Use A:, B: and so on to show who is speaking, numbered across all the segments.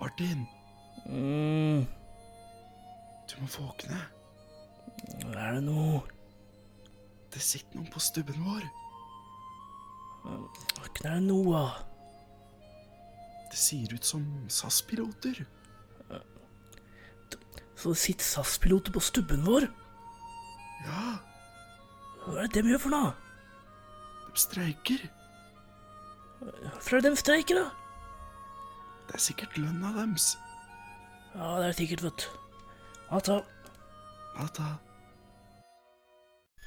A: Martin,
B: Mm,
A: du må våkne.
B: er det noe
A: Det sitter noen på stubben vår.
B: Hva er det noe av?
A: Det ser ut som SAS-piloter.
B: Så det sitter SAS-piloter sånn på stubben vår?
A: Ja,
B: Hva er det de gjør for noe?
A: de streiker.
B: Hvorfor er det de streiker, da?
A: Det er sikkert lønna deres.
B: Ja, det er det sikkert, vet du. Altså,
A: Natta.
C: is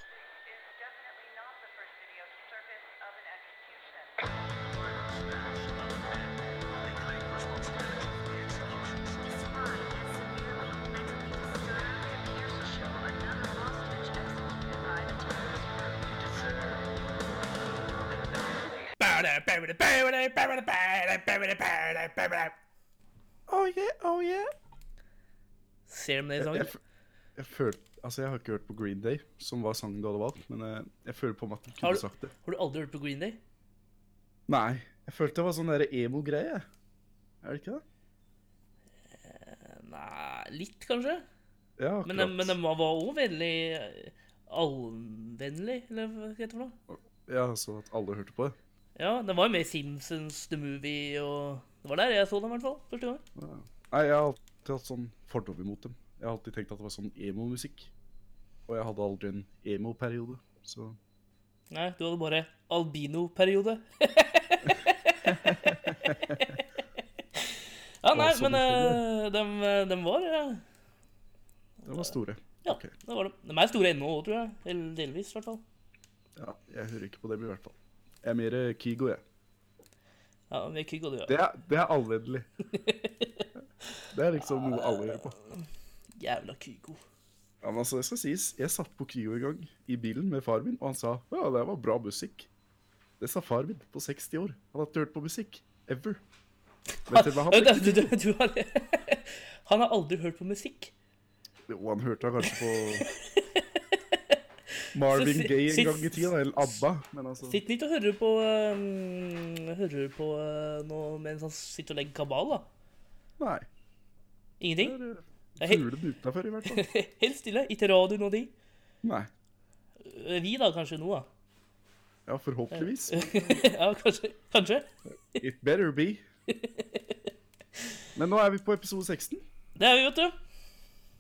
C: definitely not the first video to surface of an execution.
A: Oh yeah, oh yeah.
B: ser de det i
A: Jeg,
B: sangen?
A: jeg, f- jeg følte Altså, jeg har ikke hørt på Green Day, som var sangen du hadde valgt, men jeg, jeg føler på meg at du
B: Har
A: kunne
B: du,
A: sagt det.
B: har du aldri hørt på Green Day?
A: Nei. Jeg følte det var sånn derre emo-greie. Er det ikke det?
B: Nei, litt kanskje.
A: Ja, akkurat.
B: Men de, men eh, de var òg veldig eh, allvennlig, eller hva heter det for noe?
A: Ja, sånn at alle hørte på det.
B: Ja, de var jo med i Simpsons The Movie og Det var der jeg så dem, i hvert fall. Første gang.
A: Ja. Nei, jeg har alltid hatt sånn fordom imot dem. Jeg har alltid tenkt at det var sånn emo-musikk. Og jeg hadde aldri en emo-periode, så
B: Nei, du hadde bare albino-periode. ja, nei,
A: sånn
B: men eh, dem, dem var eh,
A: de var store.
B: Ja,
A: Ok.
B: det var de. De er store ennå òg, tror jeg. Eller delvis, i hvert fall.
A: Ja, jeg hører ikke på dem i hvert fall. Jeg er mer eh, Kygo, jeg.
B: Ja, med Kygg og du, ja.
A: Det er, det er allvennlig. Det er liksom noe alle hører på.
B: Jævla Kygo.
A: Ja, men altså, det skal sies, jeg satt på Kygo en gang i bilen med far min, og han sa ja, det var bra musikk. Det sa far min på 60 år. Han hadde ikke hørt på musikk. Ever. Vet dere hva han
B: Du, du, du, du har, han har aldri hørt på musikk.
A: Jo, han hørte da kanskje på Marvin
B: Så si-
A: Gaye
B: si-
A: en gang i tida, eller ABBA. Men altså,
B: Sitter ikke og hører på um, Hører på eh, noe mens han sitter og legger kabal, da.
A: nei.
B: Ingenting?
A: Det er
B: Det er helt-
A: fuglen utafor, i hvert fall.
B: Helt stille. Ikke radio, noe ting.
A: Nei.
B: Eh, Vi, da, kanskje nå, da.
A: Ja, forhåpentligvis.
B: ja, kanskje. Kanskje.
A: It better be. Men nå er vi på episode 16,
B: Det er vi, vet du.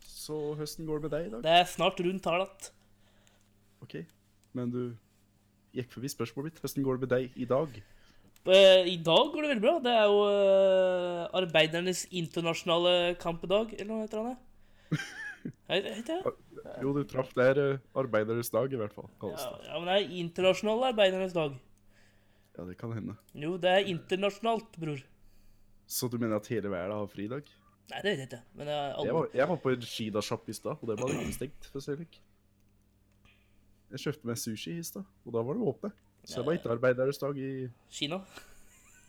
A: så høsten går med deg i dag.
B: Det er snart rundt her, da.
A: Ok, Men du gikk forbi spørsmålet mitt. Høsten går det med deg i dag.
B: Eh, I dag går det veldig bra. Det er jo eh, arbeidernes internasjonale kampdag, eller noe heter han det? Hei, heter det?
A: Jo, du traff der eh, arbeideres dag, i hvert fall. kalles
B: Ja,
A: det.
B: ja, men det er internasjonal arbeidernes dag.
A: Ja, det kan hende.
B: Jo, det er internasjonalt, bror.
A: Så du mener at hele verden har fridag?
B: Nei, det vet jeg ikke. Men det er
A: Jeg
B: alle...
A: var, jeg var på en skidasjapp i stad, og det var ikke stengt. for å si det slik. Jeg kjøpte meg sushi i stad, og da var det åpne. Så det var ikke arbeideres dag i
B: Kina.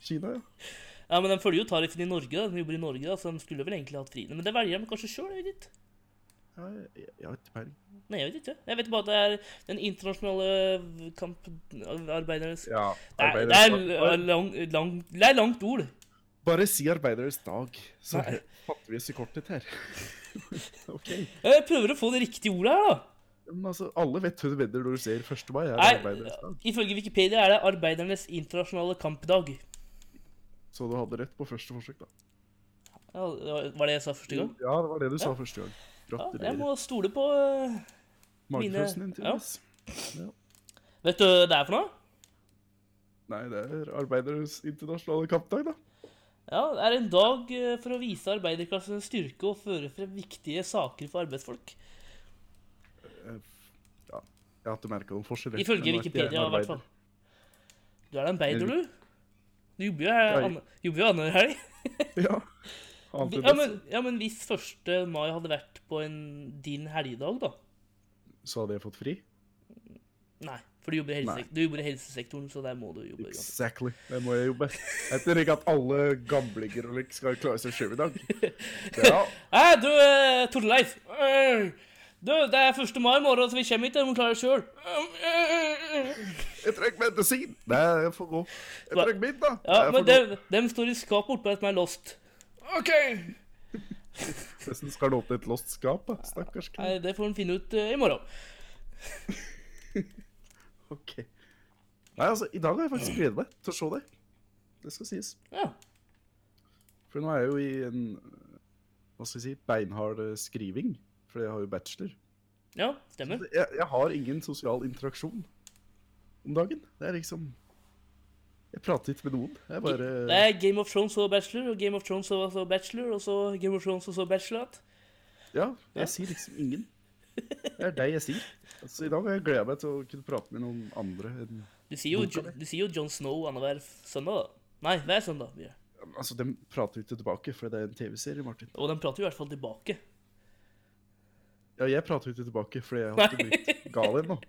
A: Kina, ja.
B: Ja, men de følger jo tariffen i Norge, da. De jobber i Norge, da, så de skulle vel egentlig hatt fri. Men det velger de kanskje sjøl, jeg vet ikke.
A: ja jeg, jeg har ikke peiling.
B: Nei, jeg vet ikke. Jeg vet bare at det er den internasjonale kamp... Arbeidernes
A: Ja,
B: Det er, det er,
A: arbeideres dag.
B: l- lang, lang, det er langt ord.
A: Bare si arbeideres dag, så
B: Nei.
A: fatter vi oss i korthet her. OK.
B: Jeg prøver å få det riktige ordet her, da.
A: Men altså, alle vet hva du mener når du ser 1. mai er arbeideres
B: Nei,
A: dag.
B: ifølge Wikipedia er det arbeidernes internasjonale kampdag.
A: Så du hadde rett på første forsøk, da.
B: Ja, det var var det jeg sa første gang?
A: Ja, det var det du sa første gang.
B: Ja, jeg
A: Gratulerer.
B: må stole på eh,
A: Magefølelsen din,
B: mine-
A: tydeligvis.
B: Vet du hva det er for noe?
A: Nei, det er arbeideres internasjonale kampdag, da.
B: Ja, Det er en dag eh, for å vise arbeiderklassens styrke og føre frem viktige saker for arbeidsfolk.
A: Ja, jeg har ikke merka noen forskjell. jeg.
B: Ifølge
A: Men nå er ikke jeg en
B: Wikipedia, i hvert
A: arbeider.
B: fall. Du er da en beider, du? Du jobber jo
A: Ja,
B: her-
A: jeg-
B: anne- jobber jo annenhver helg.
A: Ja. Annet enn
B: Ja,
A: det,
B: men, ja, men hvis 1. mai hadde vært på en, din helgedag, da?
A: så hadde jeg fått fri.
B: Nei, for du jobber i,
A: Nei.
B: helsesek du jobber i helsesektoren, så der må du jobbe. uansett.
A: Exactly. Det må jeg jobbe. Jeg tror ikke at alle gamlinger og lik skal klare seg sjøl i dag. Ja,
B: Hei, du, eh, Torleif. Eh, Du, det er 1. mai i morgen, så vi kommer ikke. Du må klare det sjøl.
A: jeg trenger medisin. Nei, jeg får gå. Jeg
B: Hva-
A: trenger middag.
B: Ja,
A: Jeg
B: men
A: får gå.
B: dem, dem står i skapet bortpå etter meg lost. OK!
A: Nesten skal han åpne et lost skap, da. Stakkars
B: Nei,
A: kid.
B: det får han finne ut eh, i morgen.
A: Ok. Nei, altså, i dag har jeg faktisk gledet meg til å se det. Det skal sies.
B: Ja.
A: For nå er jeg jo i en hva skal jeg si, beinhard eh, skriving, for jeg har jo bachelor.
B: Ja, stemmer.
A: Altså, Jeg, jeg har ingen sosial interaksjon om dagen. Det er liksom Jeg prater ikke med noen. Jeg bare
B: Det er Game of Thrones og Bachelor, og Game of Thrones og så Bachelor, og så Game of Thrones og så Bachelor igjen.
A: Ja, jeg sier liksom ingen. Det er deg jeg sier. Altså, I dag har jeg gleda meg til å kunne prate med noen andre enn
B: Du sier jo,
A: Boka
B: Jo- du sier jo John Snow annenhver søndag, da. Nei, hver søndag. blir det.
A: Altså, de prater jo ikke tilbake, for det er en TV-serie, Martin.
B: Og de prater jo i hvert fall tilbake.
A: Ja, jeg prater jo ikke tilbake, fordi jeg har ikke blitt gal ennå.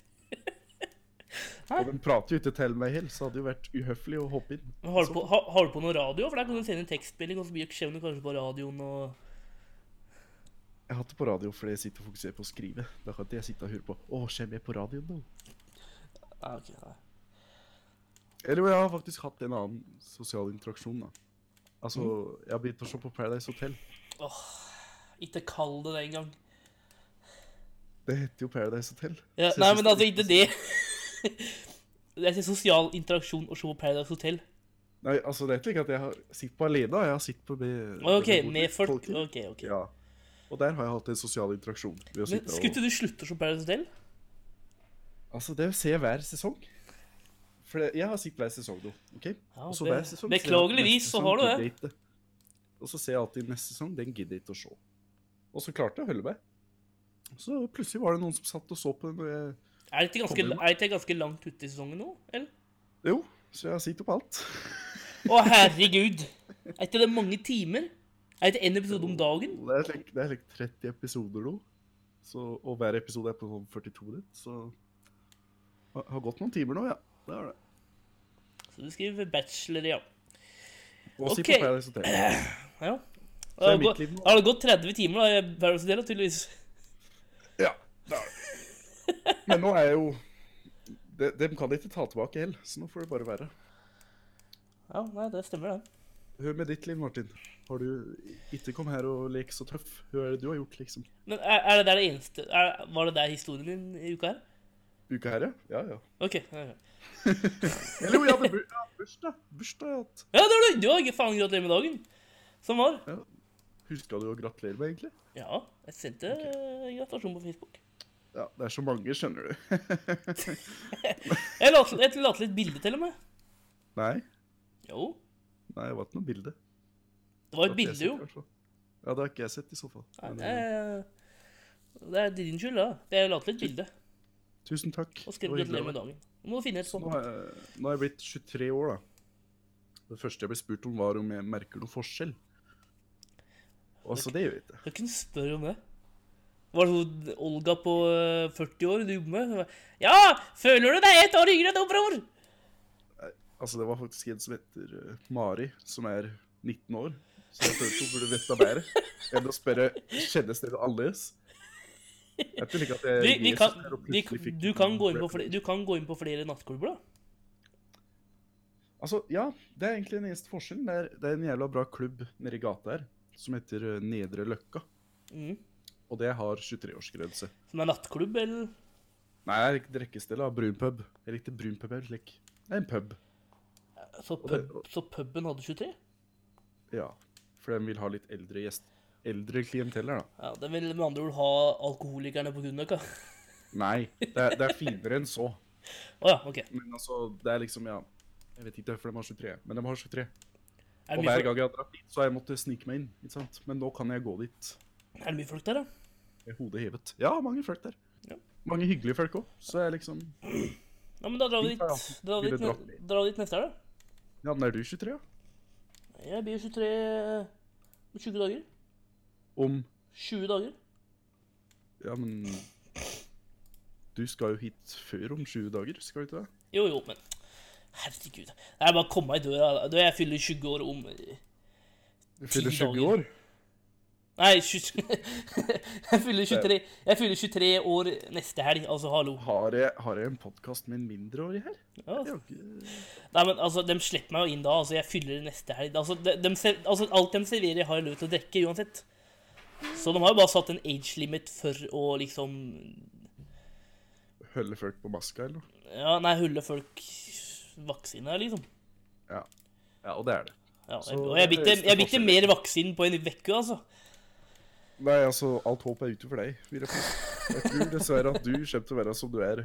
A: Og de prater jo ikke til meg heller, så det hadde jo vært uhøflig å hoppe inn.
B: Men Har du, på, har, har du på noe radio? For der kan du sende en tekstmelding, og så blir skjevner kanskje på radioen og
A: Jeg har hatt det på radio fordi jeg sitter og fokuserer på å skrive. Da kan ikke jeg sitte og høre på Å, kommer jeg på radioen nå?
B: Nei, ok, nei.
A: Eller jeg har faktisk hatt en annen sosial interaksjon, da. Altså,
B: Mm.
A: jeg har begynt å se på Paradise Hotel.
B: Ikke kall det det engang.
A: Det heter jo Paradise Hotel.
B: Ja,
A: Så jeg
B: nei,
A: synes
B: men
A: det
B: altså,
A: er
B: ikke det. Det er ikke sosial interaksjon å se på Paradise Hotel.
A: Nei, altså, det er ikke like at jeg har sittet på alene, jeg har sittet på med
B: OK,
A: med
B: med folk
A: folket.
B: OK, OK.
A: Ja. Og der har jeg hatt en sosial interaksjon. ved å
B: Men
A: sitte og...
B: skulle ikke du slutte å se Paradise Hotel?
A: Altså, det ser jeg hver sesong. For det, jeg har sett hver sesong nå. ok? Og så
B: be-
A: hver sesong ser jeg at
B: beklageligvis
A: neste
B: så
A: sesong
B: har du det.
A: gidder jeg ikke. Og så ser jeg alltid neste sesong. Den gidder jeg ikke å se. Og så klarte jeg å holde meg. Så plutselig var det noen som satt og så på den. Og jeg,
B: Er det ikke ganske,
A: Kommer du
B: er det ikke ganske langt ute i sesongen nå? Eller?
A: jo, så jeg sitter jo på alt.
B: Å, herregud! Er ikke det mange timer? Er det ikke én episode om dagen?
A: Det er like, det er like 30 episoder nå. Så, og hver episode er på sånn 42 minutter. Så det har gått noen timer nå, ja. Det har det.
B: Så du skriver bachelor, ja.
A: Og okay.
B: Ok.
A: sitter på Paradise Hotel. Så
B: ja. Det
A: er
B: har
A: mitt
B: gått-
A: liv nå.
B: det har gått 30 timer da, i Paradise Hotel, da, tydeligvis.
A: Ja, det er det. Men nå er jeg jo de, Dem kan de ikke ta tilbake heller, så nå får det bare være.
B: Ja, nei, det stemmer, det.
A: Hør med ditt liv, Martin. Har du ikke kom her og lek så tøff? Hva er det du har gjort, liksom?
B: Men er, er det der det eneste er, Var det der historien din i uka her?
A: Uka her, ja? Ja, ja.
B: OK. ja, ja.
A: Eller jo, jeg hadde bur- jeg hadde bursdag. Bursdag har jeg hatt.
B: Ja, det var det! Du har ikke faen gratulerer med dagen. Som var.
A: Huska du å gratulere meg, egentlig?
B: Ja, jeg sendte eh, en gratulasjon på Facebook.
A: Ja, det er så mange, skjønner du.
B: Jeg la til jeg la til et bilde til og med.
A: Nei,
B: Jo.
A: nei, det var ikke noe bilde. Det
B: Det var et
A: har ikke jeg
B: bilde,
A: sett,
B: jo.
A: i hvert fall. Ja, det har ikke jeg sett, i så fall.
B: Nei,
A: Men,
B: det er- det er din skyld, da. Jeg la til et bilde
A: eh, Tusen takk.
B: og skrev
A: Det var hyggelig
B: gratulerer
A: av
B: med
A: deg.
B: dagen. Du må finne et sånt.
A: Nå har, jeg, nå har jeg blitt 23 år, da. Det første jeg ble spurt om, var om jeg merker noe forskjell. Og så det gjør jeg ikke.
B: Jeg kunne spørre om det. Var det hun Olga på eh, 40 år du jobber med? Hun bare, Ja! Føler du deg ett år yngre enn noen bror?
A: Altså, det var faktisk en som heter eh, Mari, som er 19 år. Så jeg følte hun burde vite bedre enn å spørre kjennes dere annerledes. Jeg tror ikke at jeg
B: Vi, vi
A: Jesus
B: kan,
A: her og
B: vi,
A: plutselig fikk
B: du, kan
A: en
B: gå inn på
A: rap.
B: flere, du kan gå inn på flere nattklubber, da.
A: Altså, ja, det er egentlig den eneste forskjellen. Det er, det er en jævla bra klubb nede i gata her som heter eh, Nedre Løkka.
B: Mm.
A: Og det har 23-årsgrense.
B: Som er nattklubb, eller?
A: Nei, jeg liker drikkestedet. Brun pub. Jeg likte brun pub. Jeg slik. Det er en pub.
B: Så,
A: det-
B: pub, så puben hadde 23?
A: Ja. For de vil ha litt eldre gjest... Eldre klienteller, da.
B: Ja, Det vil med andre ord ha alkoholikerne på Gunnløkka.
A: Nei, det er, det er finere enn så.
B: Å ja, OK.
A: Men altså, det er liksom, ja Jeg vet ikke hvorfor de har 23, men de har 23.
B: Er det
A: Og
B: mye,
A: hver
B: folk,
A: gang jeg har dratt dit, så har jeg måttet snike meg inn. ikke sant? Men nå kan jeg gå dit
B: er det mye folk der, da?
A: med hodet hevet. Ja, mange folk der.
B: Ja.
A: Mange hyggelige folk òg. Så jeg liksom
B: Ja, men Da drar vi
A: Vi tar
B: dit,
A: altså-
B: drar vi
A: vi
B: dit,
A: drar.
B: ne- drar vi dit neste helg, da.
A: Ja, men er du 23, ja?
B: Jeg blir 23 om 20 dager.
A: Om
B: 20 dager.
A: Ja, men Du skal jo hit før om sju dager, skal du ikke det?
B: Jo, jo, men Herregud. Det er bare å komme meg i døra. da. Du, Jeg fyller 20 år om eh,
A: Du fyller
B: Ti dager.
A: 20 år.
B: Nei, 20, jeg, fyller 23, jeg fyller 23 år neste helg, altså hallo.
A: Har jeg, har jeg en podkast med en mindreårig her?
B: Ja,
A: Jeg har ikke-
B: Nei, men altså, De slipper meg jo inn da. altså, Jeg fyller neste helg. Altså, de, de ser, altså, Alt de serverer, har jeg lov til å drikke uansett. Så de har jo bare satt en age limit for å liksom
A: Hølle folk på maska eller noe?
B: Ja, nei, hulle folk vaksine, liksom.
A: Ja. ja, og det er det.
B: Ja,
A: Så
B: og jeg
A: det er
B: bitte,
A: høyeste
B: jeg bitte
A: forskjell.
B: mer vaksinen på en uke, altså.
A: Nei, altså, alt håp er ute for deg. vil Jeg påstå. Jeg tror dessverre at du kommer til å være som du er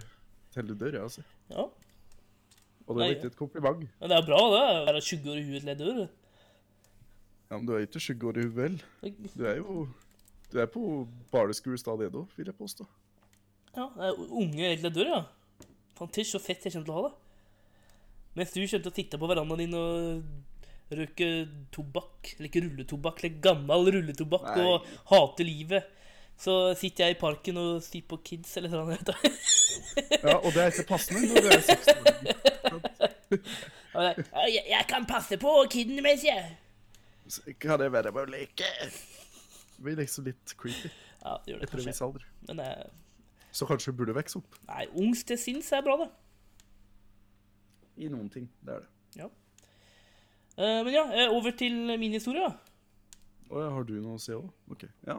A: til du dør. ja, altså.
B: Ja.
A: Og det
B: Nei.
A: er ikke et kompliment.
B: Men det er bra, det. Å være 20 år i huet til jeg dør.
A: Ja, Men du er jo ikke 20 år i huet vel? Du er jo Du er på barneskole stadig ennå, vil jeg påstå.
B: Ja, det er unge helt til jeg dør, ja. Fantastisk så fett jeg kommer til å ha det. Mens du kommer til å sitte på verandaen din og røyke tobakk, eller ikke rulletobakk, eller gammel rulletobakk,
A: Nei.
B: og hate livet. Så sitter jeg i parken og sitter på kids eller sånn. vet du.
A: Ja, Og det er ikke passende når du er 16 år.
B: Og jeg, sånn, jeg, jeg kan passe på kidene mine, sier jeg.
A: Så Kan jeg være med og leke? Det blir liksom litt creepy
B: Ja, det gjør det
A: etter en viss
B: kanskje.
A: alder.
B: Men eh,
A: Så kanskje du burde vokse opp.
B: nei, ungs til sinns er bra, det.
A: I noen ting. Det er det.
B: Ja. Eh, men ja, eh, over til min historie. da.
A: Å ja, har du noe å se òg? OK. Ja.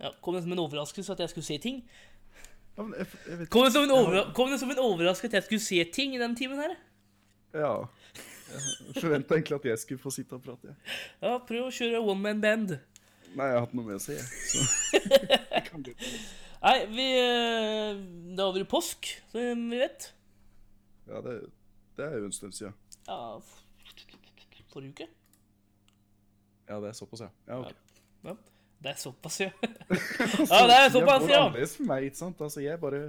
B: Ja, kom det som en overraskelse at jeg skulle se ting?
A: ja men jeg, jeg vet
B: Kom det, som en overra- kom det som en overraskelse at jeg skulle se ting i den timen her?
A: Ja. Jeg forventa egentlig at jeg skulle få sitte og prate. jeg.
B: Ja, prøv å kjøre one man band.
A: Nei, jeg har hatt noe med å si, jeg. Så. Jeg kan godt.
B: Nei, vi eh, Det er over i påsk, som vi vet.
A: Ja, det, det er jo en stund siden.
B: Ja f- Forrige uke?
A: Ja, det er såpass, ja. Ja, ok.
B: Ja. Det er såpass, ja. Ja, det er såpass,
A: Altså, Jeg
B: ja.
A: går annerledes for meg, ikke sant? Altså, jeg bare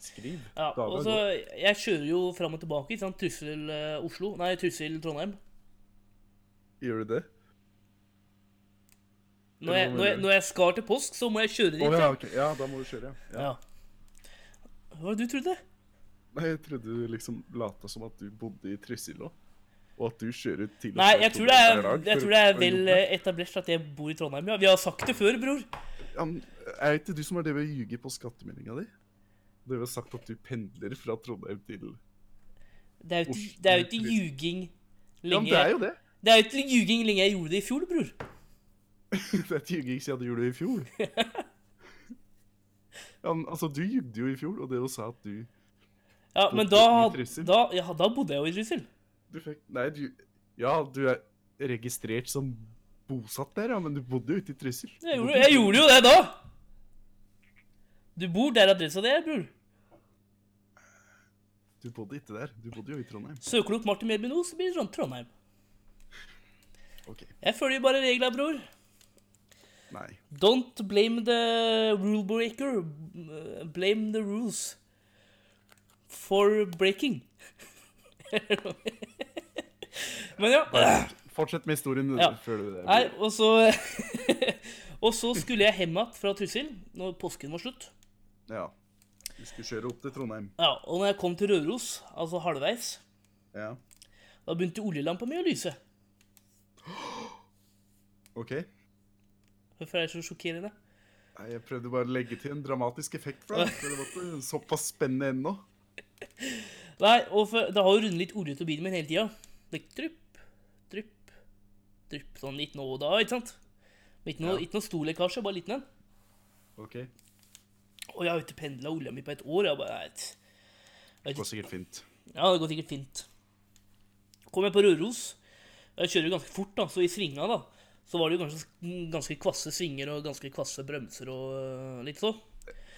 A: skriver.
B: ja
A: Dagen
B: og så,
A: går.
B: jeg kjører jo fram og tilbake. Ikke sant? Trussel eh, Oslo. Nei, Trussel Trondheim.
A: Gjør du det?
B: Når jeg, når, jeg, når jeg skal til påsk, så må jeg kjøre dit.
A: Å ja,
B: ja.
A: ok. Ja, da må du kjøre, ja. ja.
B: Ja. Hva var det du trodde?
A: Nei, jeg trodde du liksom lata som at du bodde i Trysil òg. Og at du kjører til og
B: Nei,
A: fra
B: jeg tror det er,
A: Trondheim hver dag
B: jeg
A: for
B: tror det er
A: å
B: vel
A: jobbe.
B: eh, etablert at jeg bor i Trondheim. Ja, vi har sagt det før, bror.
A: Ja, men Er det ikke du som har drevet og ljuget på skattemeldinga di? Du har jo sagt at du pendler fra Trondheim til
B: Det er jo
A: Oslo,
B: ikke, det er jo ikke
A: Trondheim.
B: ljuging
A: Ja, men
B: lenge
A: det er
B: jeg-
A: jo det.
B: Det er jo ikke ljuging lenge jeg gjorde det i fjor, bror.
A: Det er ikke ljuging siden du gjorde det i fjor. Ja, men altså, du jugde jo i fjor, og det å sa at du
B: Ja, men
A: Bodde
B: da,
A: i Trysil?
B: da, ja, da bodde jeg jo i Trysil.
A: Du fikk Nei, du Ja, du er registrert som bosatt der, ja, men du bodde jo ute i Trysil.
B: Jeg gjorde, jeg gjorde jo det da. Du bor der adressa di er, bror.
A: Du bodde ikke der. Du bodde jo i Trondheim.
B: Søker du opp Martin Melby nå, så blir det sånn Trondheim.
A: OK.
B: Jeg følger bare reglene, bror.
A: Nei.
B: Don't blame the rule breaker. eh, Blame the rules for breaking. Men ja.
A: Fortsett med historien
B: Ja.
A: før du det.
B: Nei, og så Og så skulle jeg hjem igjen fra Trysil når påsken var slutt.
A: Ja. Du skulle kjøre opp til Trondheim.
B: Ja, Og når jeg kom til Røros, altså halvveis,
A: Ja.
B: da begynte oljelampa mi å lyse.
A: OK.
B: Hvorfor er det så sjokkerende?
A: Nei, jeg prøvde bare å legge til en dramatisk effekt for deg. for Det var ikke såpass spennende ennå.
B: Nei, og for, det har jo rundet litt olje til bilen min hele tida. Det gikk drypp, drypp, drypp sånn litt nå og da, ikke sant? Men ikke noe,
A: Ja.
B: ikke noe stor lekkasje, bare liten en.
A: OK. Det
B: Og jeg har jo ikke pendla olja mi på et år. Jeg bare, nei, t-
A: går sikkert fint.
B: Ja, det går sikkert fint. Kom jeg på Røros. Jeg kjører jo ganske fort, da, så i svinga da, så var det jo ganske, ganske kvasse svinger og ganske kvasse bremser og øh, litt så.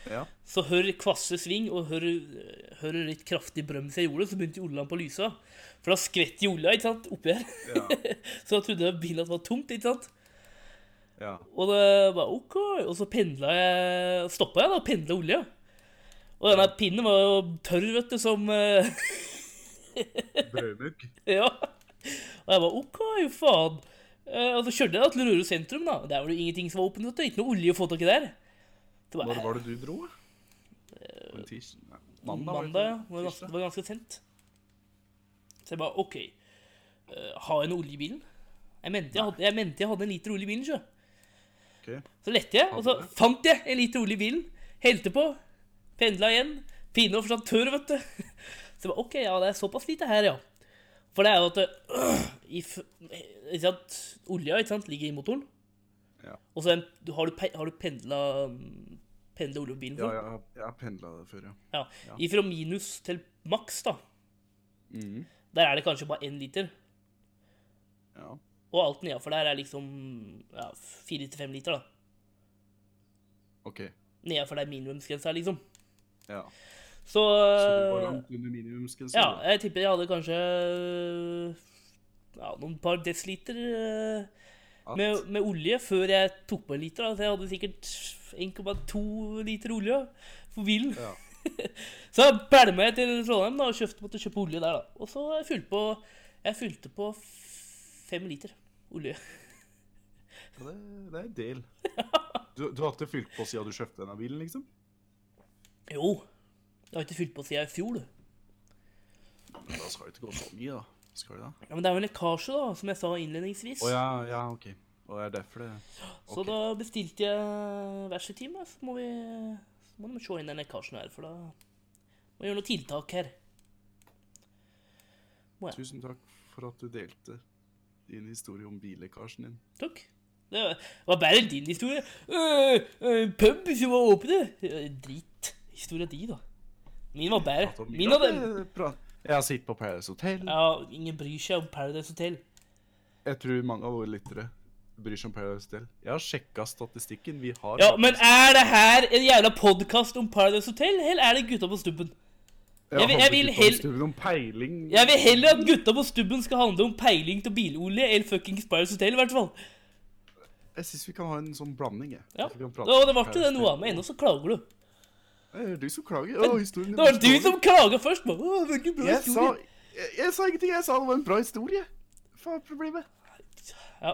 A: Ja.
B: Så hør kvasse sving og hør, øh, hør litt kraftig brems jeg gjorde, så begynte oljelampa å lyse. av. For da skvett jo olja, ikke sant, oppi her.
A: Ja.
B: Så da trodde jeg bilen at det var tomt, ikke sant.
A: ja.
B: Og det var OK. Og så pendla jeg Stoppa jeg, da, og pendla olja. Og denne pinnen var jo tørr, vet du, som øh,
A: Brødmugg.
B: Ja. Og jeg bare OK, faen. Eh, og så kjørte jeg da til Røros sentrum, da. Der var det jo ingenting som var åpent. vet du. Ikke noe olje å få tak i der. Det var
A: Når var det du dro? da? På en tirs... Nei, Mandag? var det
B: Eh, mandag, ja.
A: ikke? Tirsdag?
B: Det var ganske, det var ganske sent. Så jeg bare OK. eh, har jeg noe olje i bilen? Jeg mente jeg, hadde, jeg mente jeg hadde en liter olje i bilen, sjø.
A: Ok.
B: Så lette jeg, og så
A: Hadde det.
B: fant jeg en liter olje i bilen. Helte på. Pendla igjen. Pine og fortsatt tørr, vet du. Så jeg bare, OK, ja, det er såpass lite her, ja. For det er jo at øh, i, f- ikke sant, Olja ikke sant, ligger i motoren.
A: Ja.
B: Og så en- du- har du, pe- har du pendla Pendla olje i bilen?
A: Ja,
B: sånn?
A: jeg, har- jeg har pendla det før, ja.
B: Ja. Ifra minus til maks, da.
A: Mhm.
B: Der er det kanskje bare én liter.
A: ja.
B: Og alt nedafor der er liksom ja, fire til fem liter, da.
A: OK.
B: Nedafor der minimumsgrensa er, liksom.
A: Ja.
B: Så, øh,
A: Så du var langt under minimumsgrensa?
B: Eh, Ja,
A: da.
B: jeg tipper jeg hadde kanskje ja, noen par desiliter eh,
A: At-
B: med, med olje før jeg tok på en liter. Da. Så jeg hadde sikkert 1,2 liter olje for bilen.
A: Ja.
B: Så jeg bælma jeg til Trondheim da, og kjøpte, måtte kjøpe olje der. da. Og så jeg fylte på, jeg fylte på fem liter olje.
A: Ja, det, det er en del. Du, du har ikke fylt på siden du kjøpte denne bilen, liksom?
B: Jo, jeg har ikke fylt på siden i fjor. du.
A: Men da skal det ikke gå så mye, da. Skal det da?
B: Ja, Men det er jo en lekkasje, da, som jeg sa innledningsvis.
A: Å ja, ja, OK. Og det er derfor det
B: Så
A: ok.
B: da bestilte jeg hver sin time, så må vi så må de se inn den lekkasjen her, for da må vi gjøre noen tiltak her.
A: Tusen takk for at du delte din historie om billekkasjen din.
B: Takk. Det var bare din historie. Øh, øh, pub som var åpne. Øh, Drit. Historia di, da. Min var bare. Min av dem.
A: Eh, bra. Jeg har sittet på Paradise Hotel.
B: Ja, ingen bryr seg om Paradise Hotel.
A: Jeg tror mange av våre lyttere bryr seg om Paradise Hotel. Jeg har sjekka statistikken. Vi har
B: Ja, men er det her en jævla podkast om Paradise Hotel, eller er det Gutta på stubben? jeg vil- jeg vil hell-
A: hell... om peiling.
B: Jeg vil heller at Gutta på stubben skal handle om peiling til bilolje enn fuckings Paradise Hotel, i hvert fall.
A: Jeg syns vi kan ha en sånn blanding. Jeg.
B: Ja,
A: At vi
B: det
A: kan
B: var
A: prate
B: det
A: om
B: var ikke det
A: Paradise
B: noe
A: Hotel.
B: av meg. Ennå så klager du.
A: Det er du som klager. Å, historien
B: Det var
A: din
B: du
A: dårlig.
B: som klaga først. Bare, «Å, det er ikke bra
A: Jeg sa,
B: historie».
A: jeg, jeg sa ingenting. Jeg sa det var en bra historie. Hva er problemet?
B: Ja.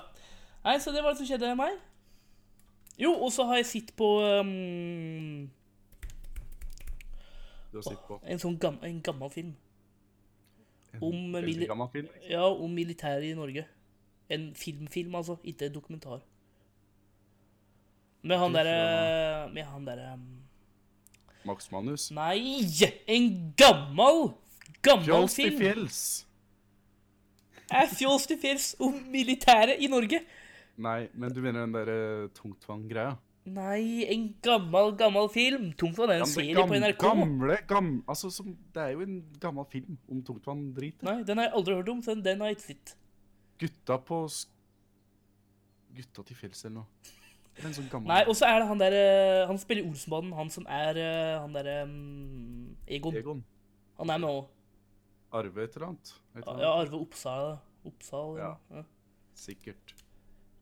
B: Nei, så det var det som skjedde med meg. Jo, og så har jeg sittet på um,
A: Du har sittet på
B: en sånn gam en gammel film.
A: en
B: Om, eh,
A: veldig
B: mili-
A: gammel film. liksom.
B: Ja, om militæret i Norge. En filmfilm, altså. Ikke en dokumentar. Med han
A: Fy
B: derre Med han derre um,
A: Max Manus.
B: Nei! En gammel, gammel
A: Fjols til
B: film!
A: fjells.
B: Er Fjols til fjells om militæret i Norge?
A: Nei, men du mener den derre tungtvann-greia?
B: Nei, en gammel, gammel film. Tungtvann er
A: Ja,
B: en
A: men
B: serie
A: gam-
B: på NRK.
A: Gamle, gamle Altså, som, det er jo en gammel film om tungtvann-drit.
B: Nei, den har jeg aldri hørt om, så den har jeg ikke sett.
A: Gutta på sk... Gutta til fjells eller noe. Det er en sånn gammel
B: Nei, og så er det han der eh, Han spiller i Olsenbanen, han som er eh, han derre mm, Egon.
A: Egon.
B: Han er med òg.
A: Arve et eller annet. vet du hva?
B: Ja, Arve Oppsal. Oppsal ja.
A: Ja. Sikkert.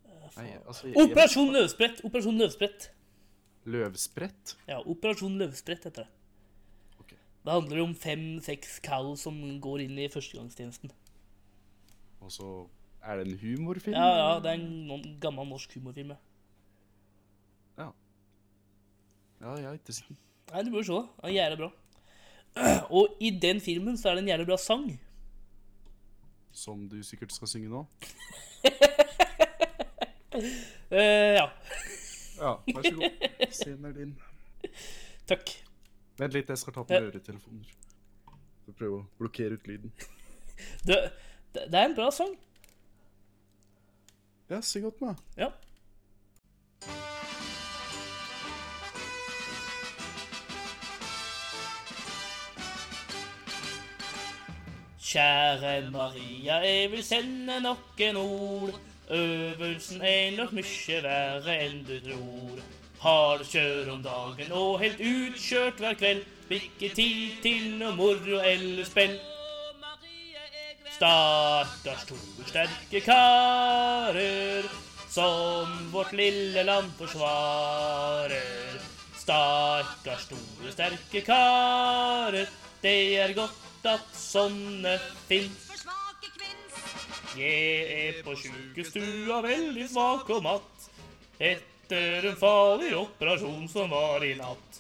B: Eh,
A: Nei, altså, jeg-
B: Operasjon Løvsprett! Operasjon Løvsprett.
A: Løvsprett?
B: Ja, Operasjon Løvsprett heter det.
A: Ok.
B: Det handler om fem-seks cal som går inn i førstegangstjenesten.
A: Og så er det en humorfilm?
B: Ja, ja, det er en noen- gammel norsk humorfilm. Ja.
A: Ja, ja jeg er ikke sikker.
B: Nei, du bør se det. Den er jævlig bra. Og i den filmen så er det en jævlig bra sang.
A: Som du sikkert skal synge nå?
B: Eh, ja,
A: Ja, vær så god. Scenen er din.
B: takk.
A: Vent litt, jeg skal ta på meg øretelefoner. For å prøve å blokkere ut lyden.
B: Det, det, det er en bra sang.
A: Ja, syng godt meg.
B: Ja. Kjære Maria, jeg vil sende noen ord. Øvelsen er nok mye verre enn du tror. Hard kjør om dagen og helt utkjørt hver kveld. Ikke tid til noe moro eller spill. Stakkars to sterke karer som vårt lille land forsvarer. Stakkars store, sterke karer, det er godt at sånne fins.
C: For svake kvinns
B: Jeg er på sjukestua veldig svak og matt etter en farlig operasjon som var i natt.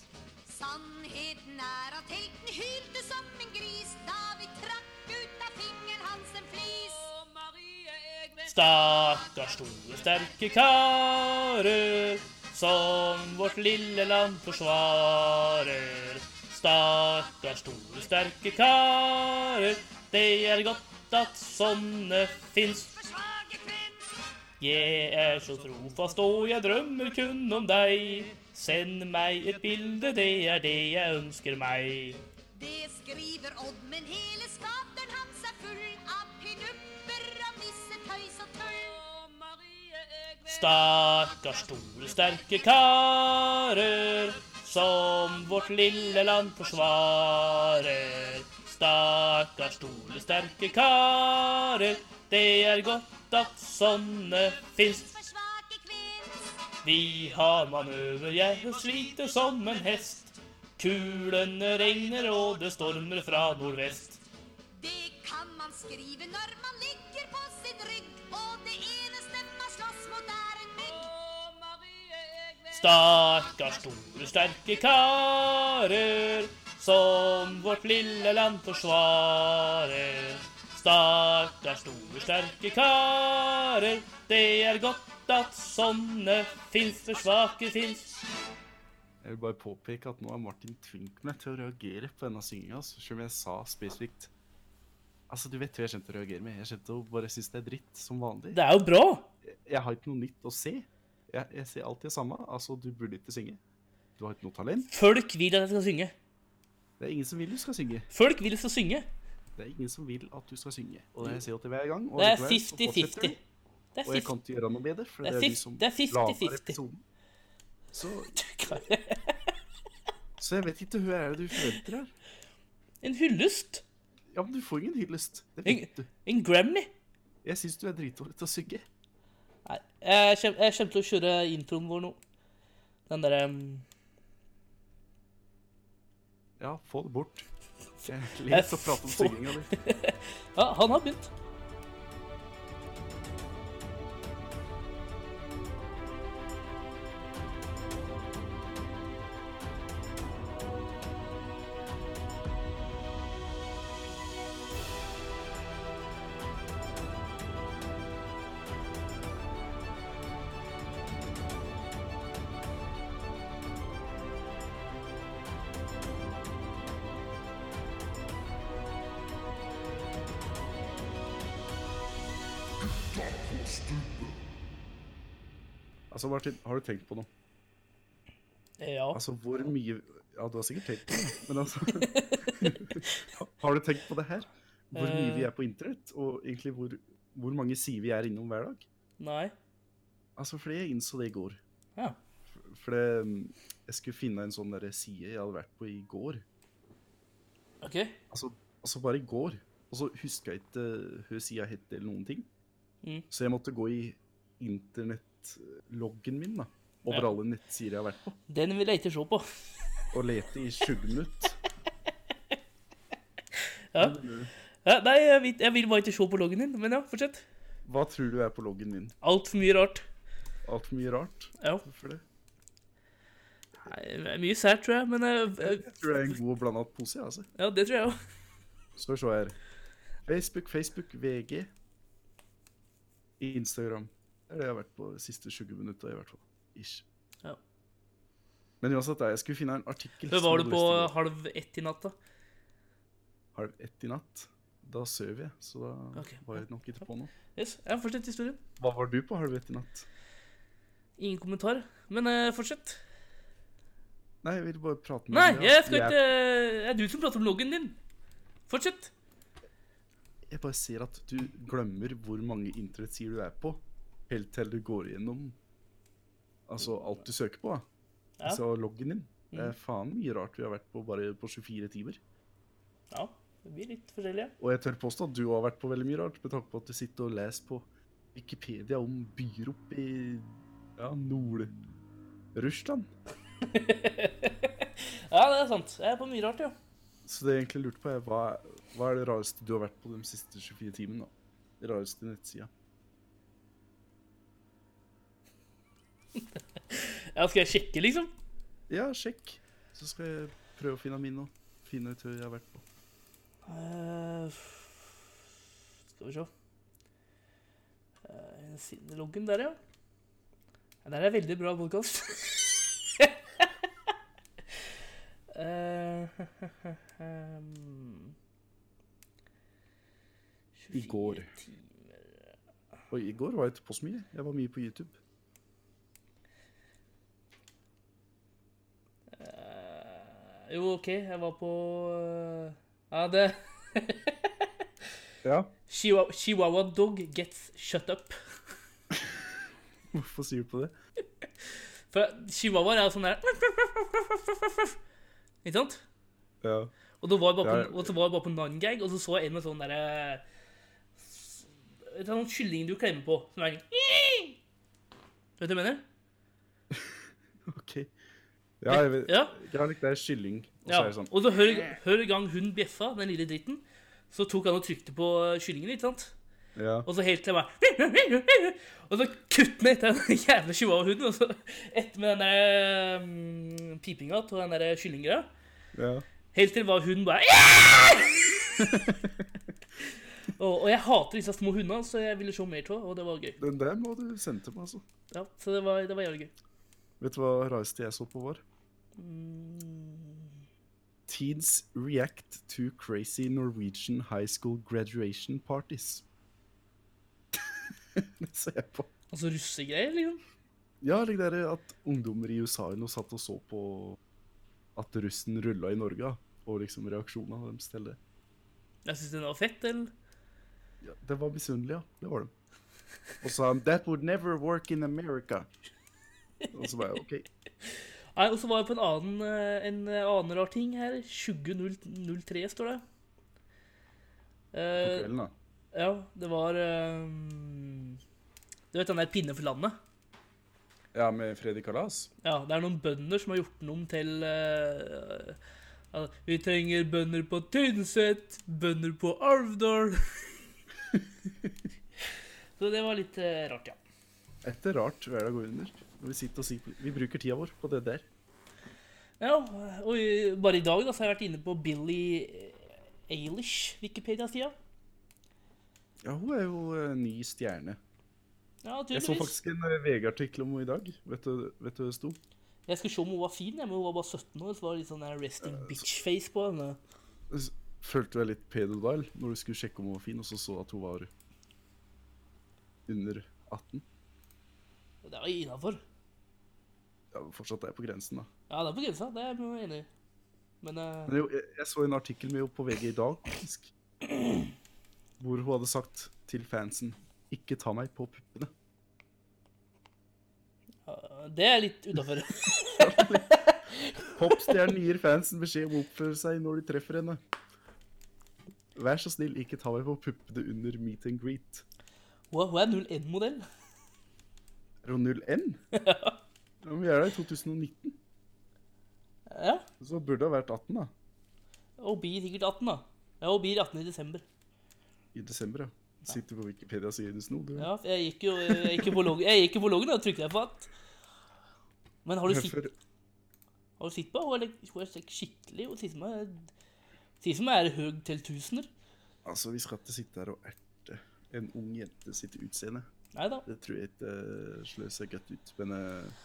C: Sannheten er at helten hylte som en gris da vi trakk ut av fingeren hans en flis.
B: Stakkars store sterke karer som vårt lille land forsvarer. Stakkars store sterke karer, det er godt at sånne fins. Jeg er så trofast, og jeg drømmer kun om deg. Send meg et bilde, det er det jeg ønsker meg.
D: Det skriver Odd, men hele skapdøren hans er full av pinupper og nissetøys og tøll.
B: Stakkars store, sterke karer som vårt lille land forsvarer. Stakkars store, sterke karer, det er godt at sånne fins.
D: For svake kvinns
B: Vi har manøver, jeg sliter som en hest. Kulene regner, og det stormer fra nordvest.
D: Det kan man skrive når man ligger på sin rygg, og det eneste man slåss mot, er en mygg.
B: Stakkars store, sterke karer som vårt lille land forsvarer. Stakkars store, sterke karer, det er godt at sånne fins, for svake fins.
A: Jeg vil bare påpeke at nå er Martin tvunget meg til å reagere på denne synginga, altså, selv om jeg sa spesifikt Altså, du vet hva jeg kommer til å reagere med. Jeg kommer til å bare synes det er dritt, som vanlig.
B: Det er jo bra.
A: Jeg har ikke noe nytt å se. Jeg, jeg ser alltid det samme. Altså, du burde ikke synge. Du har ikke noe talent.
B: Folk vil at jeg skal synge.
A: Det er ingen som vil du skal synge.
B: Folk vil at jeg skal synge.
A: Det er ingen som vil at du skal synge. Og det sier jeg til hver gang. Og
B: Det er
A: likevel så
B: 50-50.
A: fortsetter du.
B: Det er
A: Og jeg
B: 50.
A: kan ikke gjøre noe med det, for
B: Det
A: det
B: er
A: er,
B: fif-
A: de som
B: det er 50-50.
A: lager episoden. Så,
B: Klar.
A: så jeg vet ikke hva er det du forventer her.
B: En hyllest.
A: Ja, men du får ingen hyllest. Det
B: En,
A: vet du.
B: en Grammy.
A: Jeg syns du er dritdårlig til å synge.
B: Nei, jeg kommer, jeg kommer til å kjøre introen vår nå. Den derre um,
A: Ja, få det bort. Jeg
B: Jeg
A: ler og prater om
B: får-
A: synginga di.
B: Ja, han har begynt.
A: Altså, Martin, har du tenkt på noe?
B: Ja.
A: Altså, hvor mye Ja, du har sikkert tenkt på det, men altså Har du tenkt på det her? Hvor mye
B: Eh.
A: vi er på internett, og egentlig hvor, hvor mange sider vi er innom hver dag?
B: Nei.
A: Altså, fordi jeg innså det i går.
B: Ja.
A: For det, mm, jeg skulle finne en sånn derre side jeg hadde vært på i går.
B: OK.
A: Altså, altså bare i går. Og så huska jeg ikke hva sida het eller noen ting.
B: Mm.
A: Så jeg måtte gå i internettloggen min da, over
B: Ja.
A: alle nettsider jeg har vært på,
B: Den vil jeg ikke se på.
A: og lete i 20 minutter.
B: Ja. Ja, nei, jeg vil, jeg vil bare ikke se på loggen din. Men ja, fortsett.
A: Hva tror du er på loggen min?
B: Altfor mye rart.
A: Altfor mye rart?
B: Ja.
A: Hvorfor det?
B: Nei, det er mye sært, tror jeg. Men eh, eh,
A: Jeg tror det er en god og blanda pose. jeg, Altså.
B: ja, det tror jeg òg.
A: Skal vi se her. Facebook, Facebook, VG. Instagram. Det er det jeg har vært på de siste 20 minutta, i hvert fall. Ish.
B: Ja.
A: Men uansett, da, jeg skulle finne en artikkel som
B: Var du
A: hadde
B: på
A: lyst til å-
B: halv ett i natta?
A: halv ett i natt. Da søv jeg, så da
B: Ok,
A: var jeg nok ikke på noe.
B: Yes. Ja, fortsett historien.
A: Hva var du på halv ett i natt?
B: Ingen kommentar. Men eh, fortsett.
A: Nei, jeg ville bare prate med
B: Nei,
A: deg.
B: jeg skal
A: Jeg-
B: ikke eh, Det er du som prater om loggen din. Fortsett.
A: Jeg bare ser at du glemmer hvor mange internettsider du er på, helt til du går gjennom altså alt du søker på. da.
B: Ja. Mm.
A: Altså loggen din. Det er faen mye rart vi har vært på bare på 24 timer.
B: Ja. Det blir litt forskjellige.
A: Og jeg tør påstå at du har vært på veldig mye rart, med tanke på at du sitter og leser på Wikipedia om byer oppe i ja, Nord-Russland.
B: Ja, det er sant. Jeg er på mye rart, ja.
A: Så det jeg egentlig lurte på, er hva, hva er det rareste du har vært på de siste 24 timene? da? Det rareste nettsida.
B: ja. Skal jeg sjekke, liksom?
A: Ja, sjekk. Så skal jeg prøve å finne min og finne ut hva jeg har vært på.
B: Eh, Skal vi se Eh, Sinneloggen der, ja. Ja, Der er veldig bra podkast. Eh,
A: I går. Og i går var jeg på så mye. Jeg var mye på YouTube.
B: Eh, Jo, OK, jeg var på eh, Ja, det
A: Ja.
B: Chihuahua, Chihuahua dog gets shut up.
A: Hvorfor sier du på det?
B: For chihuahuaer er jo sånn der Ikke sant?
A: Ja.
B: Og det var bare
A: Ja,
B: på,
A: ja.
B: og så var det bare på Nangag, og så så jeg en med sånn derre Et sånn kylling du klemmer på, som er sånn, Vet du hva jeg mener?
A: OK. Ja, jeg vet.
B: Ja.
A: Jeg har likt det er kylling. Og så
B: ja.
A: er det sånn
B: Og så hør, hør gang hun bjeffa, den lille dritten, så tok han og trykte på kyllingen, ikke sant?
A: Ja.
B: Og så helt til jeg bare Og så kutt meg etter den jævla chihuahua-hunden, og så etter med den der mm, pipinga til den der kyllinggreia.
A: ja.
B: Helt til var hun bare og, og jeg hater disse små hundene, så jeg ville se mer av, og det var gøy.
A: Den der må du sende til meg, altså.
B: Ja, så det var, det var jævlig gøy.
A: Vet du hva rareste jeg så på var? Mm. Teens react to crazy Norwegian high school graduation parties. det så jeg på.
B: Altså russegreier, liksom.
A: Ja, det der at ungdommer i USA nå satt og så på at russen rulla i Norge, og liksom reaksjonene deres til det.
B: Jeg syns den var fett, eller?
A: Ja, det var misunnelig, ja. Det var de. Og så sa han 'That would never work in America'. Og så var jeg OK.
B: Nei, og så var jeg på en annen, eh, en annen rar ting her. 2003 står det.
A: På
B: Eh,
A: kvelden, da.
B: ja, det var ehm, Du vet den der Pinne for landet?
A: Ja, med Freddy Kalas?
B: Ja, det er noen bønder som har gjort den om til eh, al- Vi trenger bønder på Tynset, bønder på Alvdal. Så det var litt eh, rart, ja.
A: Et rart hverdag går under. Når vi sitter og sier Vi bruker tida vår på det der.
B: Ja, og i- bare i dag da, så har jeg vært inne på Billie Eilish Wikipedia-sida.
A: Ja, hun er jo eh, ny stjerne.
B: Ja,
A: Jeg så
B: tydeligvis.
A: faktisk en eh, VG-artikkel om henne i dag. Vet du, vet du hva det sto?
B: Jeg skulle se om hun var fin, jeg, men hun var bare 17 år, så var det litt sånn der
A: Eh,
B: resting bitch-face på henne.
A: S- Følte du deg litt pedodile når du skulle sjekke om hun var fin, og så så at hun var under 18?
B: Og Det var innafor.
A: Ja, fortsatt er jeg på grensen, da.
B: Ja, det er på grensa, det er jeg enig i. Men eh,
A: Men jo, jeg, jeg så en artikkel med henne på VG i dag, faktisk. Hvor hun hadde sagt til fansen 'Ikke ta meg på puppene'.
B: det er litt utafor.
A: Popstjernen gir fansen beskjed om å oppføre seg når de treffer henne. Vær så snill, ikke ta meg på puppene under meet and greet.
B: Hun hun er 01-modell.
A: Er hun 0N? Ja, men vi er der i 2019,
B: Ja.
A: så burde det ha vært 18 da.
B: Og blir sikkert 18, da. Ja, og blir 18 i desember.
A: I desember, ja. Sitter på Wikipedia og sier det sno. Du.
B: Ja, for jeg gikk jo jeg gikk jo på loggen, jeg gikk jo på loggen da, trykte jeg på at. Men har du sett
A: Hvorfor-
B: har du sett på henne? Hun er- Hun er slik skikkelig og sier som er, sier som er høg til tusener.
A: Altså, vi skal ikke sitte her og erte en ung jente sitt utseende.
B: Nei da.
A: Det tror jeg ikke eh, slår seg godt ut, men uh,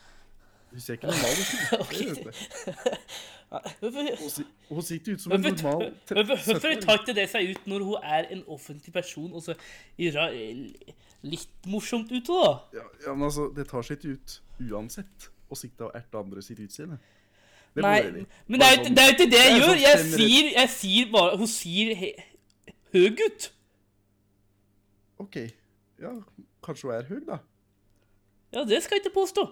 A: hun ser ikke normal ut. det gjør hun ikke.
B: Hvorfor
A: Hun si- Hun sitter ut som en
B: hvorfor-
A: normal tre-
B: hvorfor- hvorfor
A: 17-åring.
B: tar ikke det seg ut når hun er en offentlig person, og så gjør hun litt morsomt ut av det? da?
A: Ja, ja, men altså, det tar seg ikke ut uansett å sitte og erte andre sitt utseende. Det må jeg
B: Nei,
A: enig i.
B: men det er jo ikke det, er jo ikke
A: Det
B: det jeg
A: er
B: gjør.
A: sånn
B: Jeg
A: generelt.
B: sier, jeg sier bare Hun sier he, høg ut.
A: OK, ja, kanskje hun er høy, da.
B: Ja, det skal jeg ikke påstå.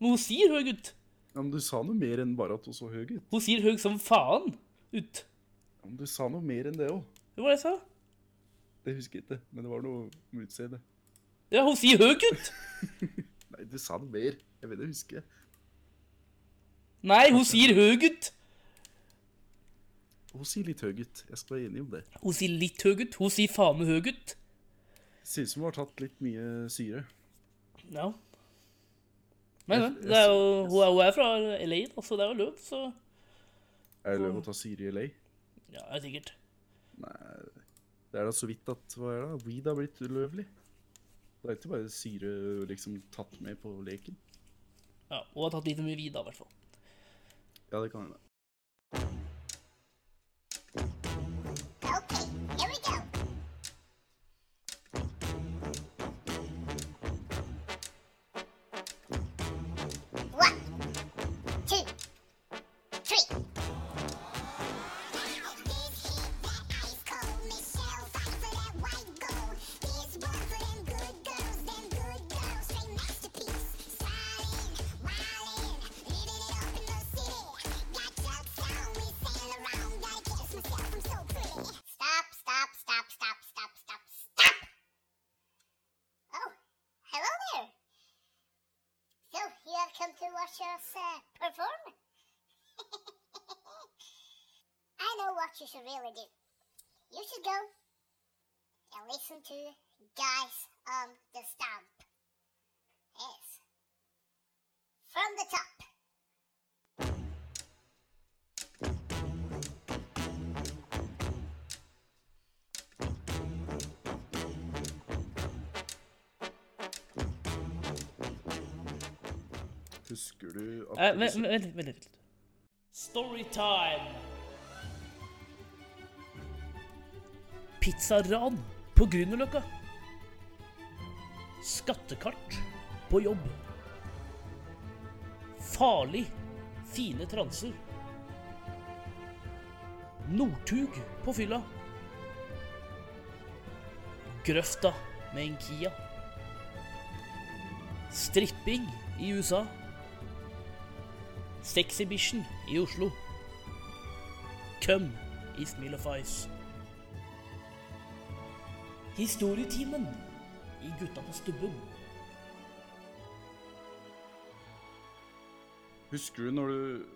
B: Men hun sier høg ut.
A: Ja, men du sa noe mer enn bare at hun så høy ut.
B: Hun sier høg som faen ut.
A: Ja, men du sa noe mer enn det òg.
B: Det var det jeg sa.
A: Det husker jeg ikke, men det var noe med utseendet.
B: Ja, hun sier høg ut.
A: Nei, du sa noe mer. Jeg vet det husker jeg.
B: Nei, hun sier høg ut.
A: Hun sier litt høy ut. Jeg skal være enig om det.
B: Hun sier litt høg ut. Hun sier faen meg høg ut.
A: Ser ut som hun har tatt litt mye syre.
B: Ja. Men ja, det er jo, hun, er, hun er fra LA, da, så det er jo løv, så
A: Er det lov å ta syre i LA?
B: Ja, det er sikkert.
A: Det er da så vidt at hva er det? Weed har blitt ulovlig. Det er ikke bare syre liksom tatt med på leken.
B: Ja, og har tatt litt mye vid, da, i hvert fall.
A: Ja, det kan hende.
E: Okay, here we go. One, two, three. Stop, stop, stop, stop, stop, stop, stop! Oh, hello there! So, you have come to watch us uh, perform? I know what you should really do. You should go and listen to Guys on the Stump. Yes. From the top.
A: Husker du at
B: Eh, Vent vent- vent litt. vent litt. Storytime! Pizzaran på Grünerløkka. Skattekart på jobb. Farlig fine transer. Northug på fylla. Grøfta med en Kia. Stripping i USA. Sexybition i Oslo. Køm i Smil og Fais. Historietimen i Gutta på stubben.
A: Husker du når du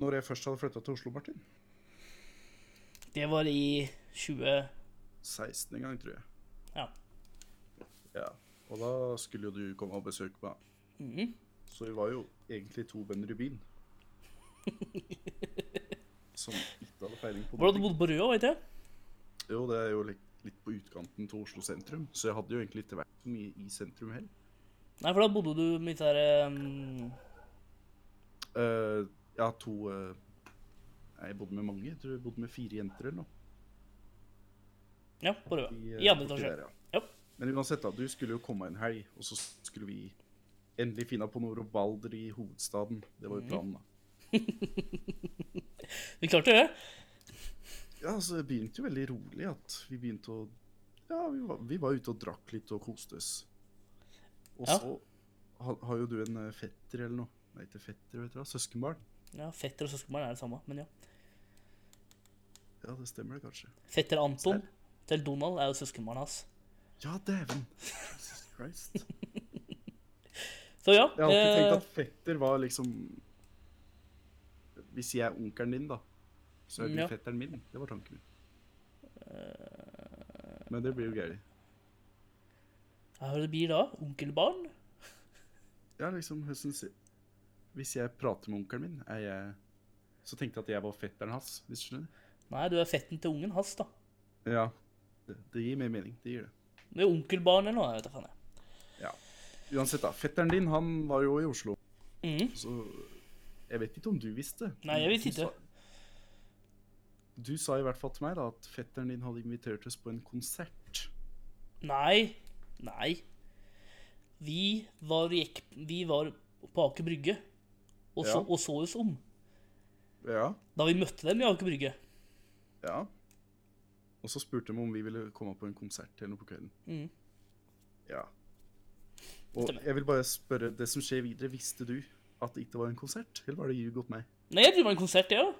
A: Når jeg først hadde flytta til Oslo, Martin?
B: Det var i 20...
A: 16. gang, tror jeg.
B: Ja.
A: Ja. Og da skulle jo du komme og besøke meg. Så vi var jo egentlig to venner i byen. Som ikke hadde peiling på
B: Var det du bodde på Røa, vet jeg?
A: Jo, det er jo litt, litt på utkanten til Oslo sentrum, så jeg hadde jo egentlig ikke vært så mye i sentrum heller.
B: Nei, for da bodde du med disse her... Um...
A: Eh, jeg har to eh, Nei, Jeg bodde med mange. Jeg tror jeg bodde med fire jenter eller noe.
B: Ja, på Røa.
A: I, eh,
B: I andre
A: borti
B: etasje.
A: der, ja.
B: Ja.
A: Men uansett, da, du skulle jo komme en helg, og så skulle vi endelig finne på noe robalder i hovedstaden. Det var jo planen, da.
B: Vi klarte det.
A: Ja, så det begynte jo veldig rolig at vi begynte å Ja, vi var, vi var ute og drakk litt og koste oss. Og
B: Ja.
A: så ha, har jo du en eh, fetter eller noe. Nei, ikke fetter, vet du hva. Søskenbarn.
B: Ja, fetter og søskenbarn er det samme, men ja.
A: Ja, det stemmer det kanskje.
B: Fetter Anton til Donald er jo søskenbarn hans.
A: Ja, dæven! Jesus Christ. Jeg
B: Så ja.
A: har alltid
B: eh,
A: tenkt at fetter var liksom Hvis jeg er onkelen din, da, så er du
B: Ja.
A: fetteren min. Det var tanken min.
B: Eh.
A: Men det blir jo gøy.
B: Hva er det det blir da? Onkelbarn?
A: Ja, liksom hvordan si- Hvis jeg prater med onkelen min, er jeg Så tenkte jeg at jeg var fetteren hans, hvis du skjønner?
B: Nei, du er fetten til ungen hans, da.
A: Ja. Det, det gir mer mening. Det gir det.
B: Det er onkelbarn eller noe, jeg vet da faen. jeg.
A: Ja. Uansett, da. Fetteren din han var jo i Oslo,
B: Mhm.
A: så Jeg vet ikke om du visste.
B: Nei, jeg
A: men
B: visste
A: du
B: ikke.
A: sa- Du sa i hvert fall til meg da at fetteren din hadde invitert oss på en konsert.
B: Nei. Nei. Vi var, gikk, vi var på Aker Brygge og
A: Ja.
B: så, og så oss om.
A: Ja.
B: Da vi møtte dem i Aker Brygge.
A: Ja. Og så spurte de om vi ville komme på en konsert eller noe på kvelden.
B: Mhm.
A: Ja. Og
B: Stemmer.
A: jeg vil bare spørre, det som skjer videre, visste du at det ikke var en konsert? Eller var det ljug åt meg?
B: Nei, jeg tror det var en konsert, det ja. òg.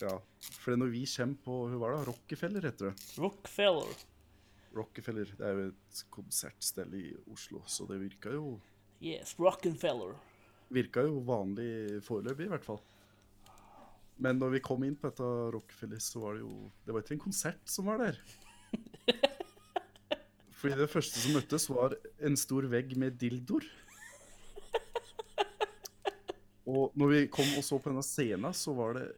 A: Ja. For når vi kommer på hva var det, Rockefeller, heter det.
B: Rockefeller.
A: Rockefeller, det er jo et konsertstell i Oslo, så det virka jo
B: Yes, Rockefeller.
A: Virka jo vanlig foreløpig, i hvert fall. Men når vi kom inn på dette Rockefeller, så var det jo Det var ikke en konsert som var der. Fordi det første som møttes, var en stor vegg med dildoer. Og når vi kom og så på denne scenen, så var det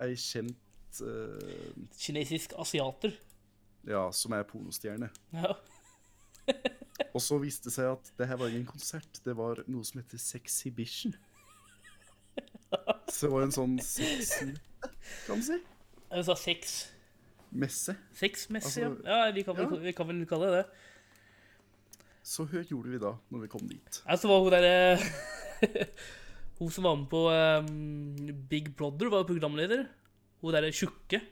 A: ei kjent eh,
B: Kinesisk asiater.
A: Ja, som er pornostjerne.
B: Ja.
A: Og Og så viste det seg at det her var ingen konsert, det var noe som heter Sexhibition. Så det var en sånn sexy, kan man si,
B: Jeg sa sex.
A: messe.
B: Sexmessig,
A: Altså,
B: ja. ja vi, kan vel,
A: ja.
B: vi kan vel kalle det det.
A: Så hva gjorde vi da, når vi kom dit?
B: Nei, så var hun derre Hun som var med på eh, Big Brother, var programleder. Hun derre tjukke.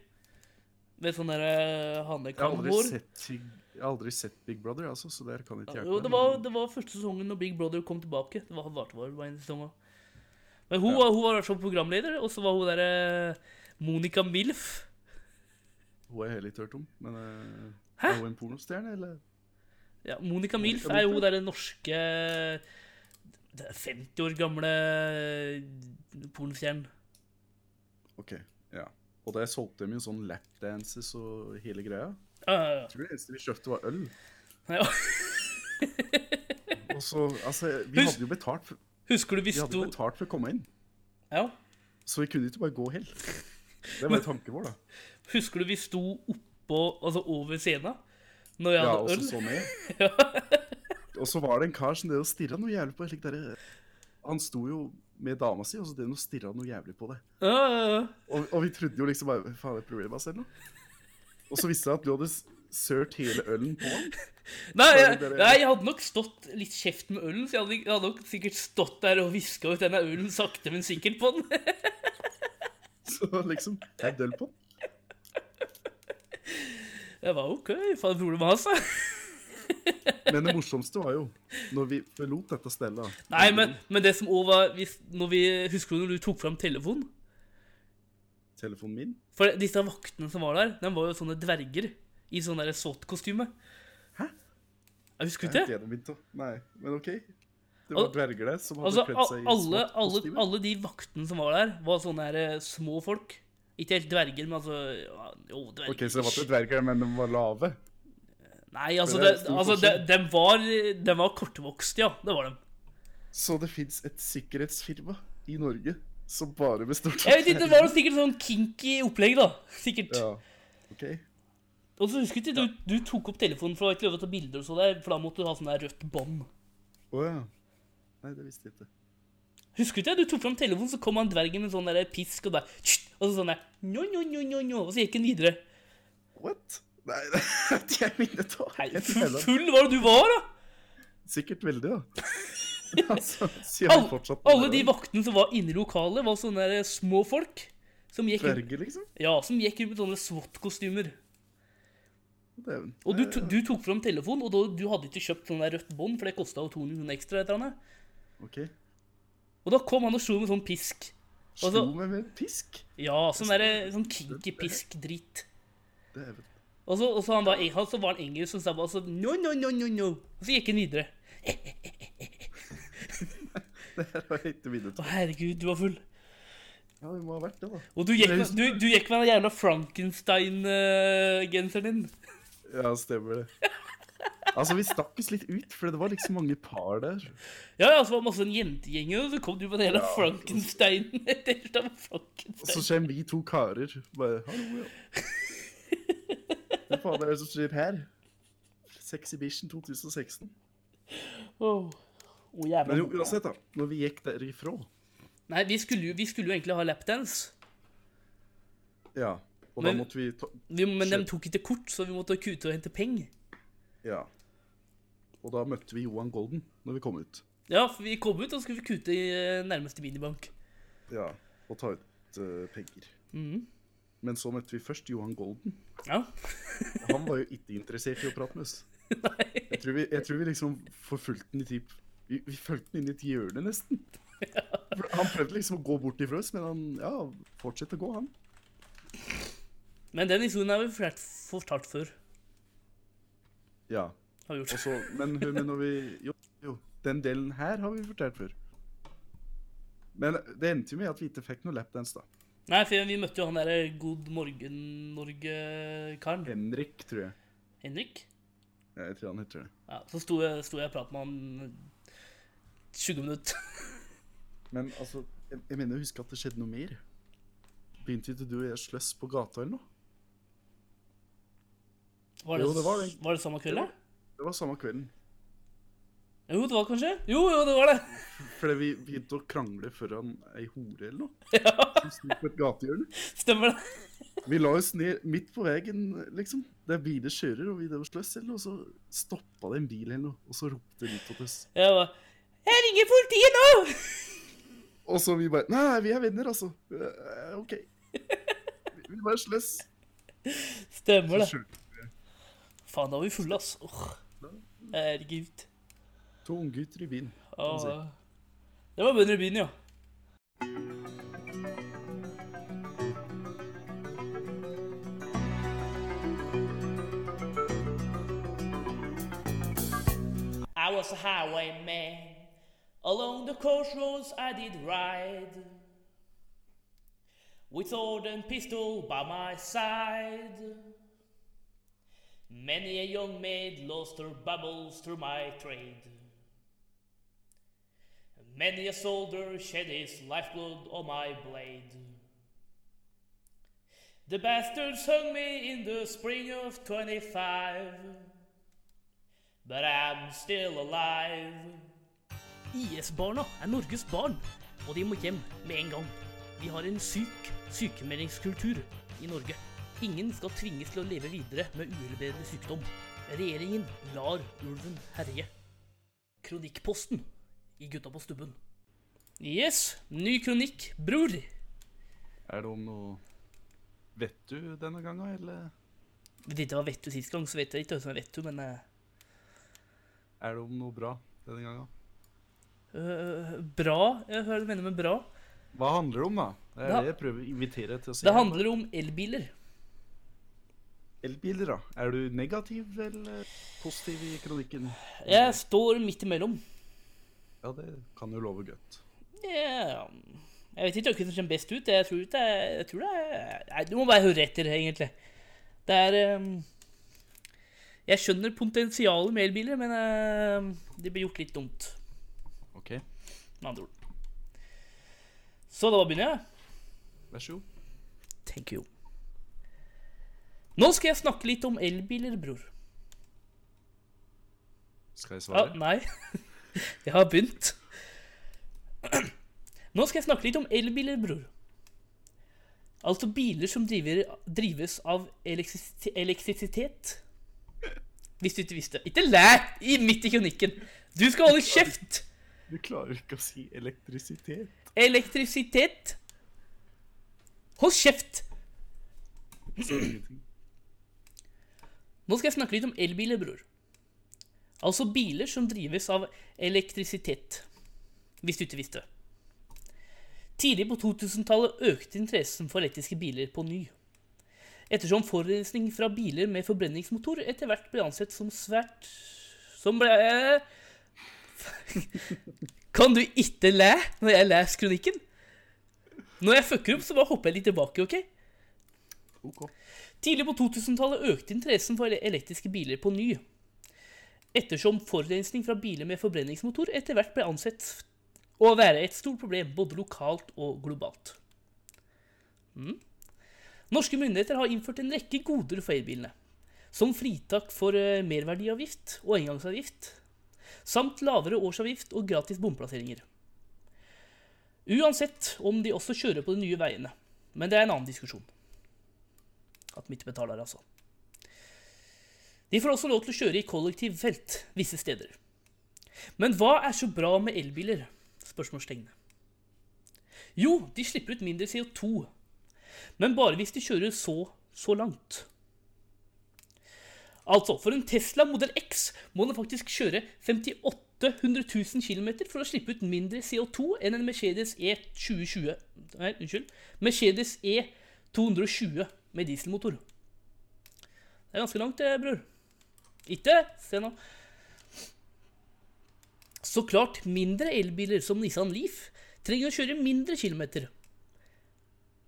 B: Med sånn derre
A: Jeg har aldri
B: hannekamhår.
A: sett, jeg har aldri sett Big Brother, altså, så der kan jeg ikke hjelpe
B: Jo, det
A: deg,
B: var,
A: men-
B: det var første sesongen når Big Brother kom tilbake. Det var, varte bare en sesong også. Men hun, var- hun var altså programleder, og så var hun derre Monica Milf.
A: Hun er jeg litt hørt om, men eh,
B: Hæ?
A: er hun en pornostjerne, eller?
B: Ja, Monica Milf
A: Monica
B: er jo
A: Milf,
B: derre norske det er 50 år gamle eh, pornostjernen.
A: Ok, ja. Og der solgte de jo sånn lapdances og hele greia.
B: Ja, ja,
A: Jeg tror det eneste vi kjøpte var øl.
B: ja. Ja.
A: Og så, altså, vi
B: Husk-
A: hadde jo betalt for,
B: Husker du vi
A: vi hadde
B: sto
A: jo betalt for å komme inn,
B: ja.
A: så vi kunne ikke bare gå helt. Det var tanken vår, da.
B: Husker du vi sto oppå, altså over scenen, når jeg
A: Ja, og så
B: hadde øl?
A: så ned. Og så var det en kar som det stirra noe jævlig på. Slik der, han sto jo med dama si, og så det stirra noe jævlig på det.
B: Ja, ja, ja.
A: Og, og vi trodde jo liksom bare Faen, er det problemet hans eller noe? Og så visste jeg at du hadde s- sølt hele ølen på han.
B: Nei, jeg,
A: dere-
B: nei, jeg hadde nok stått litt kjeft med ølen, så jeg hadde, jeg hadde nok sikkert stått der og viska ut denne ølen sakte, men sikkert på den.
A: Så liksom Jeg døll på han.
B: Jeg var OK, faen problemet hans, da.
A: Men det morsomste var jo når vi forlot dette stedet.
B: Nei, men, men det som òg var hvis, når vi, Husker du når du tok fram telefonen?
A: Telefonen min.
B: For disse vaktene som var der, de var jo sånne dverger i sånn der SWAT-kostyme.
A: Hæ?
B: Jeg husker
A: Jeg
B: du
A: er
B: ikke
A: helt
B: det?
A: enig med Vinto. Nei, men OK. Det var
B: Al-
A: dverger der som hadde
B: Altså,
A: kledd seg i
B: al- alle, alle,
A: SWAT-kostyme.
B: alle de vaktene som var der, var sånne her eh, små folk. Ikke helt dverger, men altså ja, Jo, dverger.
A: OK, så det var ikke dverger, men de var lave.
B: Nei, altså,
A: Men det
B: det,
A: er stor
B: altså de,
A: forskjell.
B: de, var, de var kortvokste, ja. Det var de.
A: Så det fins et sikkerhetsfirma i Norge som bare består av
B: Jeg vet ikke, Det var jo sikkert sånn kinky opplegg, da. Sikkert.
A: Ja, OK.
B: Og så husker jeg ikke, du, du tok opp telefonen, for det var ikke lov å ta bilder og så der, for da måtte du ha sånn der rødt bånd.
A: Å ja. Nei, det visste jeg ikke.
B: Husker du ikke? Du tok fram telefonen, så kom han dvergen med sånn der pisk og bare «Tsk!» Og så sånn der njo, njo, njo, njo, njo, Og så gikk han videre.
A: What? Nei, det er ikke jeg minnet om.
B: Nei,
A: Jeg
B: full,
A: teller
B: full var det du var, da!
A: Sikkert veldig, da. altså, sier han
B: Alle,
A: fortsatt
B: alle de vaktene som var inne i lokalet, var sånne der små folk. Som gikk, rundt-
A: Dverger, liksom?
B: ja, som gikk rundt med sånne SWAT-kostymer.
A: Dæven.
B: Og du, to- du tok fram telefonen, og da, du hadde ikke kjøpt sånn der rødt bånd, for det kosta jo 200 kroner ekstra. Et eller annet.
A: OK.
B: Og da kom han og slo med sånn pisk.
A: Slo
B: Altså-
A: meg med en pisk?
B: Ja, sånn derre sånn kinky pisk-dritt.
A: Dæven.
B: Og så, og så, han var, han, så var han engelsk og så sa han bare så, no, no, no, no, no. Og så gikk han videre.
A: Det her har jeg ikke minnet
B: Å,
A: om.
B: herregud, du var full.
A: Ja, det må ha vært det, da.
B: Og du gikk med, du, du gikk med den jævla Frankenstein-genseren din.
A: Ja, stemmer det. Altså, vi stakk oss litt ut, for det var liksom mange par der.
B: Ja, ja, så var det masse en jentegjeng, og så kom du med den jævla
A: Ja.
B: Frankenstein. Det er da
A: Og så
B: Frankenstein.
A: kommer vi to karer bare Hallo, ja. Hva faen er det som skjer her? Sexhibition 2016.
B: Åh, Å, jævla.
A: Men jo, uansett, da. Når vi gikk derifra
B: Nei, vi skulle, jo, vi skulle jo egentlig ha lapdance,
A: Ja. Og da
B: Men-
A: måtte vi ta
B: vi, men de
A: Shit.
B: tok ikke kort, så vi måtte kute og hente penger.
A: Ja. Og da møtte vi Johan Golden når vi kom ut.
B: Ja, for vi kom ut, og skulle vi kute i eh, nærmeste minibank.
A: Ja. Og ta ut eh, penger. Men så møtte vi først Johan Golden.
B: Ja.
A: Han var jo ikke interessert i å prate med oss. Jeg tror vi, jeg tror vi liksom forfulgte han i typ Vi, vi fulgte han inn i et hjørne, nesten. For Han prøvde liksom å gå bort ifra oss, men han ja, fortsatte å gå, han.
B: Men den historien har vi fortalt, fortalt før.
A: Ja.
B: Har vi gjort.
A: Og så, men, hør, men når vi jo, jo, den delen her har vi fortalt før. Men det endte jo med at vi ikke fikk noe lapdance, da.
B: Nei, for vi møtte jo han der eh, God morgen Norge-karen.
A: Henrik, tror jeg.
B: Henrik.
A: Ja, jeg tror han heter det.
B: Ja, så sto jeg, sto jeg og pratet med han eh, 20 minutter.
A: Men altså, jeg, jeg mener å huske at det skjedde noe mer. Begynte ikke du og jeg å slåss på gata eller noe?
B: Var det,
A: Jo, det var det.
B: var det samme kveld, da?
A: Det var samme kvelden.
B: Jo, det var kanskje? Jo, jo, det var det.
A: Fordi vi begynte å krangle foran ei hore eller noe.
B: Ja,
A: Som sto på et gatehjørne.
B: stemmer det.
A: Vi la oss ned midt på veien, liksom. Der biler kjører, og vi der og sløss, eller noe. Og så stoppa det en bil eller noe, og så ropte de ut til oss.
B: Jeg bare Jeg ringer politiet nå!
A: Og så vi bare Nei, vi er venner, altså. Eh, OK. Vi- Vi bare sløss. Så
B: Stemmer det.
A: skjønte
B: Faen, da var vi fulle, ass. Åh, Herregud.
A: vi to unggutter i byen.
B: Åh. Oh, uh, Det var bønder i byen, ja. I was a highwayman. Along the crossroads I did ride. With sword and pistol by my side. Many a young maid lost her bubbles through my trade. Many a soldier shed his lifeblood on my blade. The bastards hung me in the spring of 25. But I'm still alive. IS-barna er Norges barn, og de må hjem med en gang. Vi har en syk sykemeldingskultur i Norge. Ingen skal tvinges til å leve videre med uhelbredelig sykdom. Regjeringen lar ulven herje. Kronikkposten i Gutta på stubben. Yes, ny kronikk, bror.
A: Er det om noe Vet du denne gangen, eller
B: Vet ikke hva vet du sist gang, så vet jeg ikke hva som er vet du, men eh,
A: er det om noe bra denne gangen?
B: øh, Bra. Jeg hører du mener med bra.
A: Hva handler det om, da? Det er
B: Ja.
A: det jeg prøver å invitere til å si.
B: Det handler om elbiler.
A: Elbiler, da. Er du negativ eller positiv i kronikken?
B: Jeg står midt imellom.
A: Ja, det kan jo love godt.
B: Ja, Jeg vet ikke hva som kommer best ut. Jeg tror, det er, jeg tror det er Nei, du må bare høre etter, egentlig. Det er ehm, Jeg skjønner potensialet med elbiler, men ehm, det blir gjort litt dumt,
A: OK,
B: med andre ord. Så da begynner jeg.
A: vær så god.
B: tenker jo. Nå skal jeg snakke litt om elbiler, bror.
A: Skal jeg
B: Ja,
A: svare?
B: Ah, nei. Jeg har begynt. Nå skal jeg snakke litt om elbiler, bror. Altså biler som driver, drives av elektris- elektrisitet. Hvis du ikke visste. Ikke lær i midt i kronikken! Du skal holde kjeft!
A: Du klarer ikke å si elektrisitet.
B: Elektrisitet. Hold kjeft!
A: Så ingenting.
B: Nå skal jeg snakke litt om elbiler, bror. Altså biler som drives av elektrisitet. Hvis du ikke visste. Tidlig på 2000-tallet økte interessen for elektriske biler på ny. Ettersom forurensning fra biler med forbrenningsmotor etter hvert ble ansett som svært Som ble Kan du ikke le når jeg leser kronikken? Når jeg fucker opp, så bare hopper jeg litt tilbake, OK?
A: OK.
B: Tidlig på 2000-tallet økte interessen for elektriske biler på ny, ettersom forurensning fra biler med forbrenningsmotor etter hvert ble ansett å være et stort problem både lokalt og globalt. Mm. Norske myndigheter har innført en rekke goder for elbilene, som fritak for eh, merverdiavgift og engangsavgift, samt lavere årsavgift og gratis bomplasseringer. Uansett om de også kjører på de nye veiene, men det er en annen diskusjon at de ikke betaler, altså. De får også lov til å kjøre i kollektivfelt visse steder. Men hva er så bra med elbiler? Spørsmålstegn. Jo, de slipper ut mindre CO2, men bare hvis de kjører så, så langt. Altså, for en Tesla modell X må den faktisk kjøre 58 100 000 km for å slippe ut mindre CO2 enn en Mercedes E 2020 Nei, unnskyld. Mercedes E 220 med dieselmotor. Det er ganske langt, det, bror. Ikke se nå. Så klart, mindre elbiler som Nissan Leaf trenger å kjøre mindre kilometer.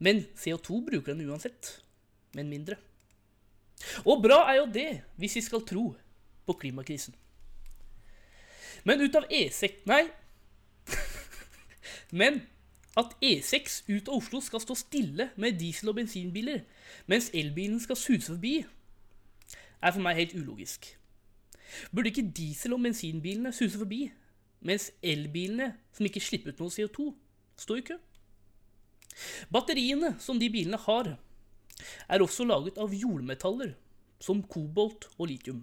B: Men CO2 bruker den uansett. Men mindre. Og bra er jo det, hvis vi skal tro på klimakrisen. Men ut av E6 Nei. Men at E6 ut av Oslo skal stå stille med diesel- og bensinbiler, mens elbilen skal suse forbi, er for meg helt ulogisk. Burde ikke diesel- og bensinbilene suse forbi, mens elbilene, som ikke slipper ut noe CO2, står i kø? Batteriene som de bilene har, er også laget av jordmetaller, som kobolt og litium.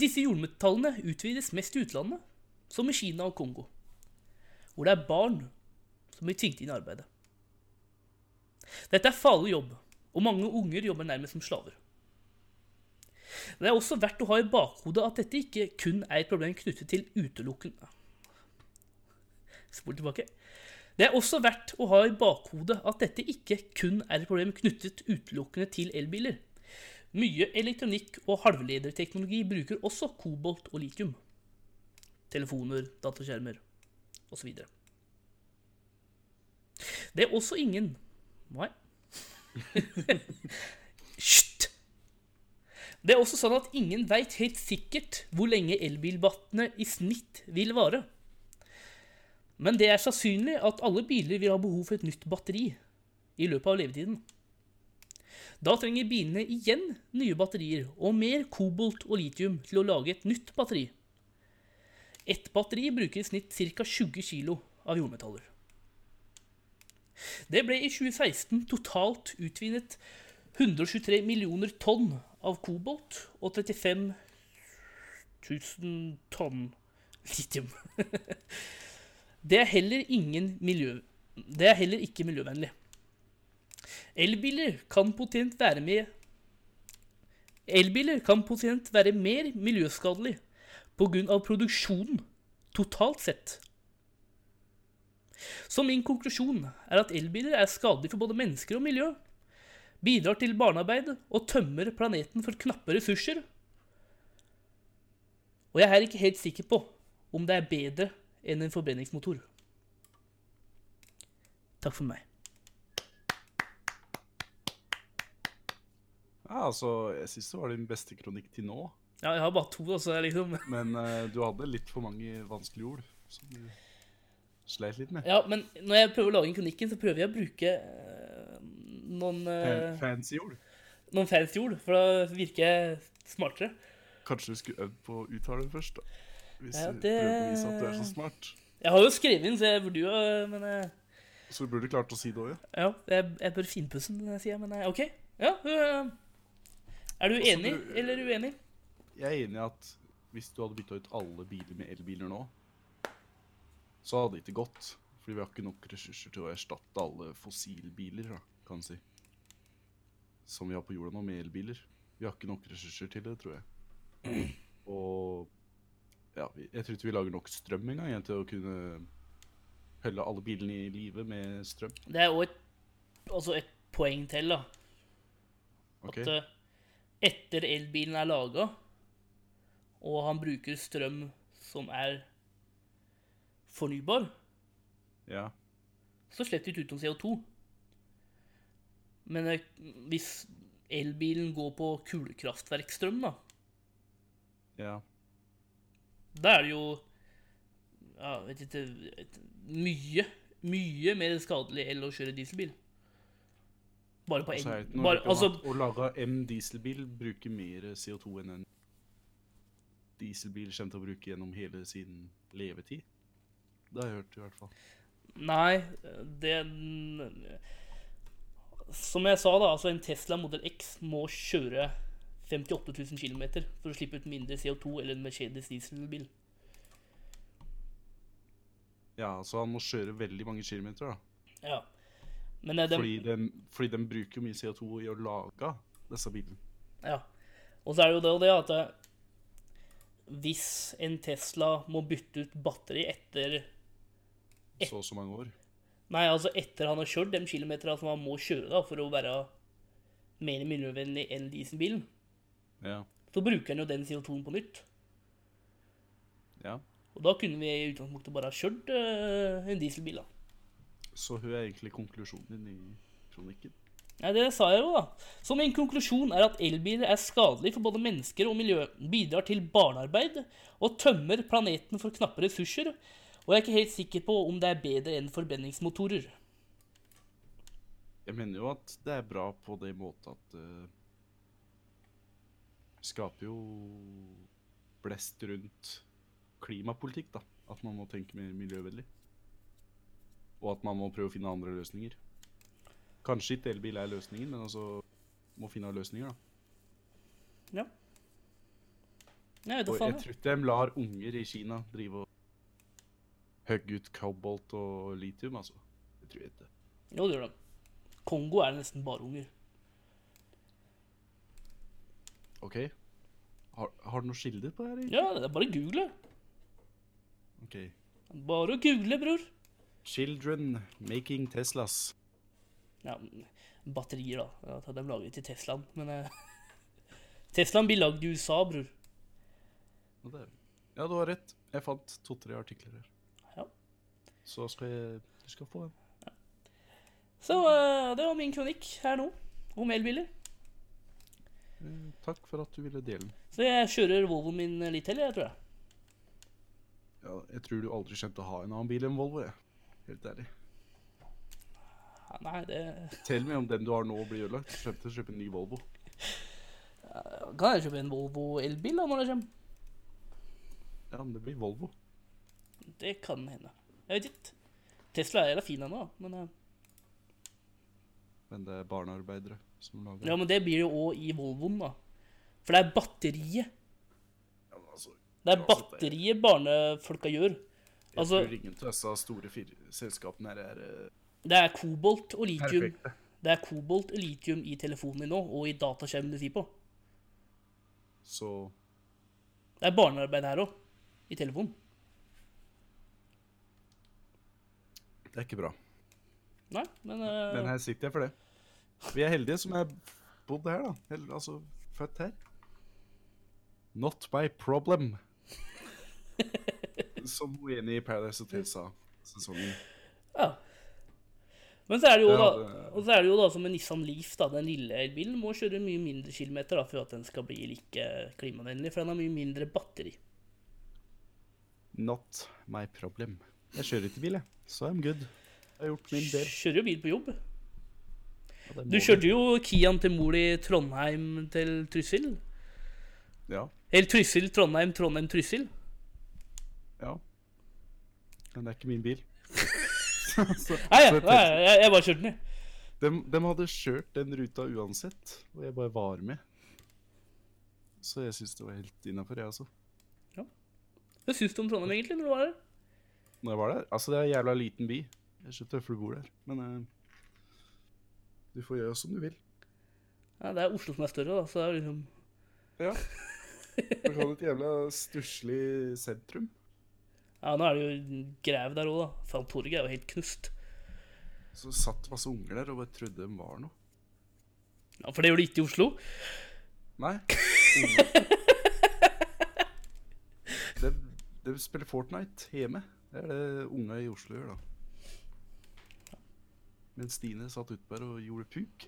B: Disse jordmetallene utvides mest i utlandet, som i Kina og Kongo, hvor det er barn som blir tvunget inn i arbeidet. Dette er farlig jobb, og mange unger jobber nærmest som slaver. Det er også verdt å ha i bakhodet at dette ikke kun er et problem knyttet til utelukkende Spol tilbake. Det er også verdt å ha i bakhodet at dette ikke kun er et problem knyttet utelukkende til elbiler. Mye elektronikk og halvlederteknologi bruker også kobolt og litium. Telefoner, dataskjermer osv. Det er også ingen Nei. Hysj! Det er også sånn at ingen veit helt sikkert hvor lenge elbilbattene i snitt vil vare. Men det er sannsynlig at alle biler vil ha behov for et nytt batteri i løpet av levetiden. Da trenger bilene igjen nye batterier og mer kobolt og litium til å lage et nytt batteri. Ett batteri bruker i snitt ca. 20 kg av jordmetaller. Det ble i 2016 totalt utvinnet 123 millioner tonn av kobolt og 35 000 tonn litium. Det er heller ingen miljø... Det er heller ikke miljøvennlig. Elbiler kan potent være med Elbiler kan potent være mer miljøskadelig pga. produksjonen totalt sett. Så min konklusjon er at elbiler er skadelig for både mennesker og miljø, bidrar til barnearbeid og tømmer planeten for knappe ressurser. Og jeg er ikke helt sikker på om det er bedre enn en forbrenningsmotor. Takk for meg.
A: Ja, altså, jeg syns det var din beste kronikk til nå.
B: Ja, jeg har bare to, altså. jeg Liksom.
A: Men eh, du hadde litt for mange vanskelige ord som du sleit litt med.
B: Ja, men når jeg prøver å lage en kronikken, så prøver jeg å bruke eh, noen,
A: Fan-
B: eh,
A: Fancy ord.
B: noen fancy ord, for da virker jeg smartere.
A: Kanskje du skulle øvd på å uttale det først, da. Hvis
B: Ja,
A: du
B: det-
A: prøver å vise at du er så smart.
B: Jeg har jo skrevet inn, så jeg burde jo eh, Men eh,
A: Så du burde klart å si det òg, ja.
B: ja, jeg, jeg bør finpusse den, sier jeg. Men eh, OK. Ja. eh, er du enig
A: du-
B: eller uenig?
A: Jeg er enig i at hvis du hadde bytta ut alle biler med elbiler nå, så hadde det ikke gått. Fordi vi har ikke nok ressurser til å erstatte alle fossilbiler, da, kan man si. Som vi har på jorda nå, med elbiler. Vi har ikke nok ressurser til det, tror jeg. Og ja, vi- jeg tror ikke vi lager nok strøm engang jeg, til å kunne holde alle bilene i live med strøm.
B: Det er jo et, altså et poeng til, da.
A: Ok?
B: At eh, etter elbilen er laga, og han bruker strøm som er fornybar,
A: Ja.
B: så slipper de ikke ut noe CO2. Men eh, hvis elbilen går på kulekraftverkstrøm, da,
A: ja.
B: da er det jo ja, vet ikke, et, mye, mye mer skadelig enn å kjøre dieselbil. Bare på
A: Altså,
B: el...
A: jeg vet ikke,
B: Bare,
A: Norge
B: altså,
A: kan- Å lage en dieselbil bruker mer CO2 enn en dieselbil kommer til å bruke gjennom hele sin levetid. Det har jeg hørt, i hvert fall.
B: Nei, det Som jeg sa, da, altså en Tesla modell X må kjøre 58 000 km for å slippe ut mindre CO2 eller en Mercedes dieselbil.
A: Ja, så han må kjøre veldig mange kilometer, da.
B: Ja. Men eh, det,
A: Fordi den, fordi den bruker jo mye CO2 i å lage disse bilene.
B: ja. Og så er det jo det og det at eh, hvis en Tesla må bytte ut batteri etter
A: Så og så mange år.
B: Nei, altså etter han har kjørt de kilometerne som han må kjøre da, for å være mer miljøvennlig enn dieselbilen,
A: Ja.
B: så bruker han jo den CO2-en på nytt.
A: ja.
B: Og da kunne vi i utgangspunktet bare ha kjørt eh, en dieselbil, da.
A: Så hun er egentlig konklusjonen din i kronikken.
B: Nei, det sa jeg jo, da. Så min konklusjon er at elbiler er skadelig for både mennesker og miljø, bidrar til barnearbeid og tømmer planeten for knappe ressurser, og jeg er ikke helt sikker på om det er bedre enn forbrenningsmotorer.
A: Jeg mener jo at det er bra på det måte at eh, skaper jo blest rundt klimapolitikk, da. At man må tenke mer miljøvennlig. Og at man må prøve å finne andre løsninger. Kanskje ikke elbil er løsningen, men altså må finne løsninger, da.
B: Ja. Nei, da
A: Og
B: faen.
A: jeg
B: jeg.
A: tror ikke de lar unger i Kina drive og hogge ut kobolt og litium, altså. Det tror jeg ikke.
B: Jo, det gjør de. Kongo er nesten bare unger.
A: OK? Har, har du noe skilde på her? eller?
B: Ja, det er bare å google.
A: OK.
B: Bare å google, bror.
A: Children making Teslas.
B: Ja, batterier, da. Ja, de lager ikke Teslaen, men eh, Teslaen blir lagd i USA, bror.
A: Ja, det er. ja, du har rett. Jeg fant to-tre artikler her.
B: Ja.
A: Så skal jeg Du skal få en.
B: Så eh, det var min kronikk her nå, om elbiler.
A: Eh, Takk for at du ville dele den.
B: Så jeg kjører Volvoen min eh, litt til, jeg tror jeg.
A: Ja, jeg tror du aldri skjønte å ha en annen bil enn Volvo, jeg. Helt ærlig.
B: Ja, Nei, det
A: Tell meg om den du har nå blir ødelagt. Du skjønte å kjøpe en ny Volvo.
B: Kan jeg kjøpe en Volvo elbil da, når det kommer?
A: Ja, men det blir Volvo.
B: Det kan hende. Jeg vet ikke. Tesla er jævla fin ennå, da, men eh,
A: Men det er barnearbeidere som lager
B: Ja, men det blir det òg i Volvoen, da. For det er batteriet.
A: Ja, men altså,
B: Det er
A: Ja, altså, det-
B: batteriet barnefolka gjør.
A: jeg
B: Altså-
A: tror ingen av disse store fir- selskapene her er eh,
B: Det er kobolt og litium.
A: perfekte.
B: Det er kobolt og litium i telefonen din nå, og i dataskjermen du sier på.
A: Så
B: Det er barnearbeid her òg. I telefonen.
A: det er ikke bra.
B: Nei, men, eh,
A: Men her sitter jeg for det. Vi er heldige som er bodd her, da. Hel- altså født her. Not by problem. Som hun ene i Paradise Hotel sa sesongen.
B: ja. Men så er det jo
A: Ja,
B: da,
A: det-
B: og så er det jo da som en Nissan Leaf, da, den lille elbilen, må kjøre mye mindre kilometer da, for at den skal bli like klimavennlig, for den har mye mindre batteri.
A: Not my problem. Jeg kjører ikke bil, jeg. Så I'm good. Jeg har gjort min del.
B: Kjører jo bil på jobb.
A: Ja, det må
B: Du kjørte jo Kian til mor i Trondheim til Trysil.
A: Ja.
B: Eller Trysil, Trondheim, Trondheim, Trysil.
A: ja. Men det er ikke min bil. så,
B: Nei, ja,
A: så
B: nei, jeg, jeg bare kjørte den, jeg.
A: De, de hadde kjørt den ruta uansett, og jeg bare var med. Så jeg syns det var helt innafor, jeg også.
B: Hva syns du om Trondheim egentlig, når du var her?
A: Når jeg var der Altså, det er en jævla liten by. Jeg er så tøff du bor der. Men eh, du får gjøre som du vil.
B: Ja, det er Oslo som er større, da, så det er liksom
A: Ja. Du kan et jævla stusslig sentrum.
B: Ja, nå er det jo grev der òg, da. Faen, torget er jo helt knust.
A: Så satt masse unger der og bare trodde de var noe.
B: Ja, For det gjør det ikke i Oslo.
A: Nei. Unger. De, de spiller Fortnite hjemme. Det er det unga i Oslo gjør, da. Men Stine satt ute der og gjorde puk.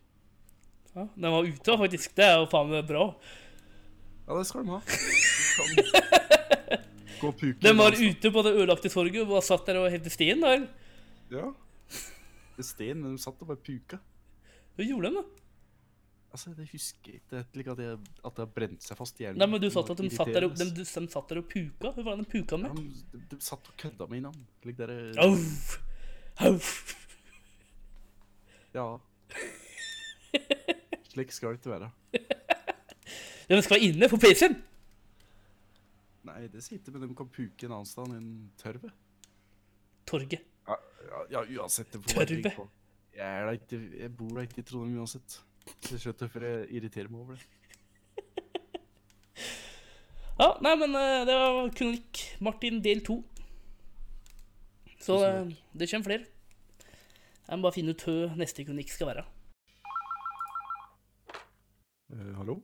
B: Ja, Den var ute, da, faktisk. Det er jo faen meg bra.
A: Ja, det skal de ha. Du kan gå puken.
B: Den var
A: altså.
B: ute på det ødelagte torget og bare satt der og helte stien, da. eller?
A: Ja. Det Sten, men de satt og bare puka.
B: Hva gjorde de, da?
A: Altså, det husker jeg ikke. Det er ikke like at, jeg, at det har brent seg fast i hjernen.
B: Nei, men du
A: Det
B: sa
A: var
B: at de satt der og, de,
A: irriterende.
B: de satt der og puka. Hva var det de puka
A: Ja,
B: med?
A: men de, de satt og kødda med innan. Like der,
B: Au! Au!
A: ja. Slik skal det ikke være.
B: De skal være inne på PC-en!
A: Nei, det sier ikke, men de kan puke en annen sted enn tørve.
B: Torget.
A: Ja, ja, ja uansett. det får være
B: Tørve?
A: drikk på. Jeg, er da ikke, jeg bor da ikke i Trondheim uansett. Det er så tøffere jeg irriterer meg over det.
B: Ja, nei, men eh, det var kronikk Martin del to. Så
A: Tusen
B: eh, det kommer flere. Jeg må bare finne ut hva neste kronikk skal være.
A: Eh, hallo?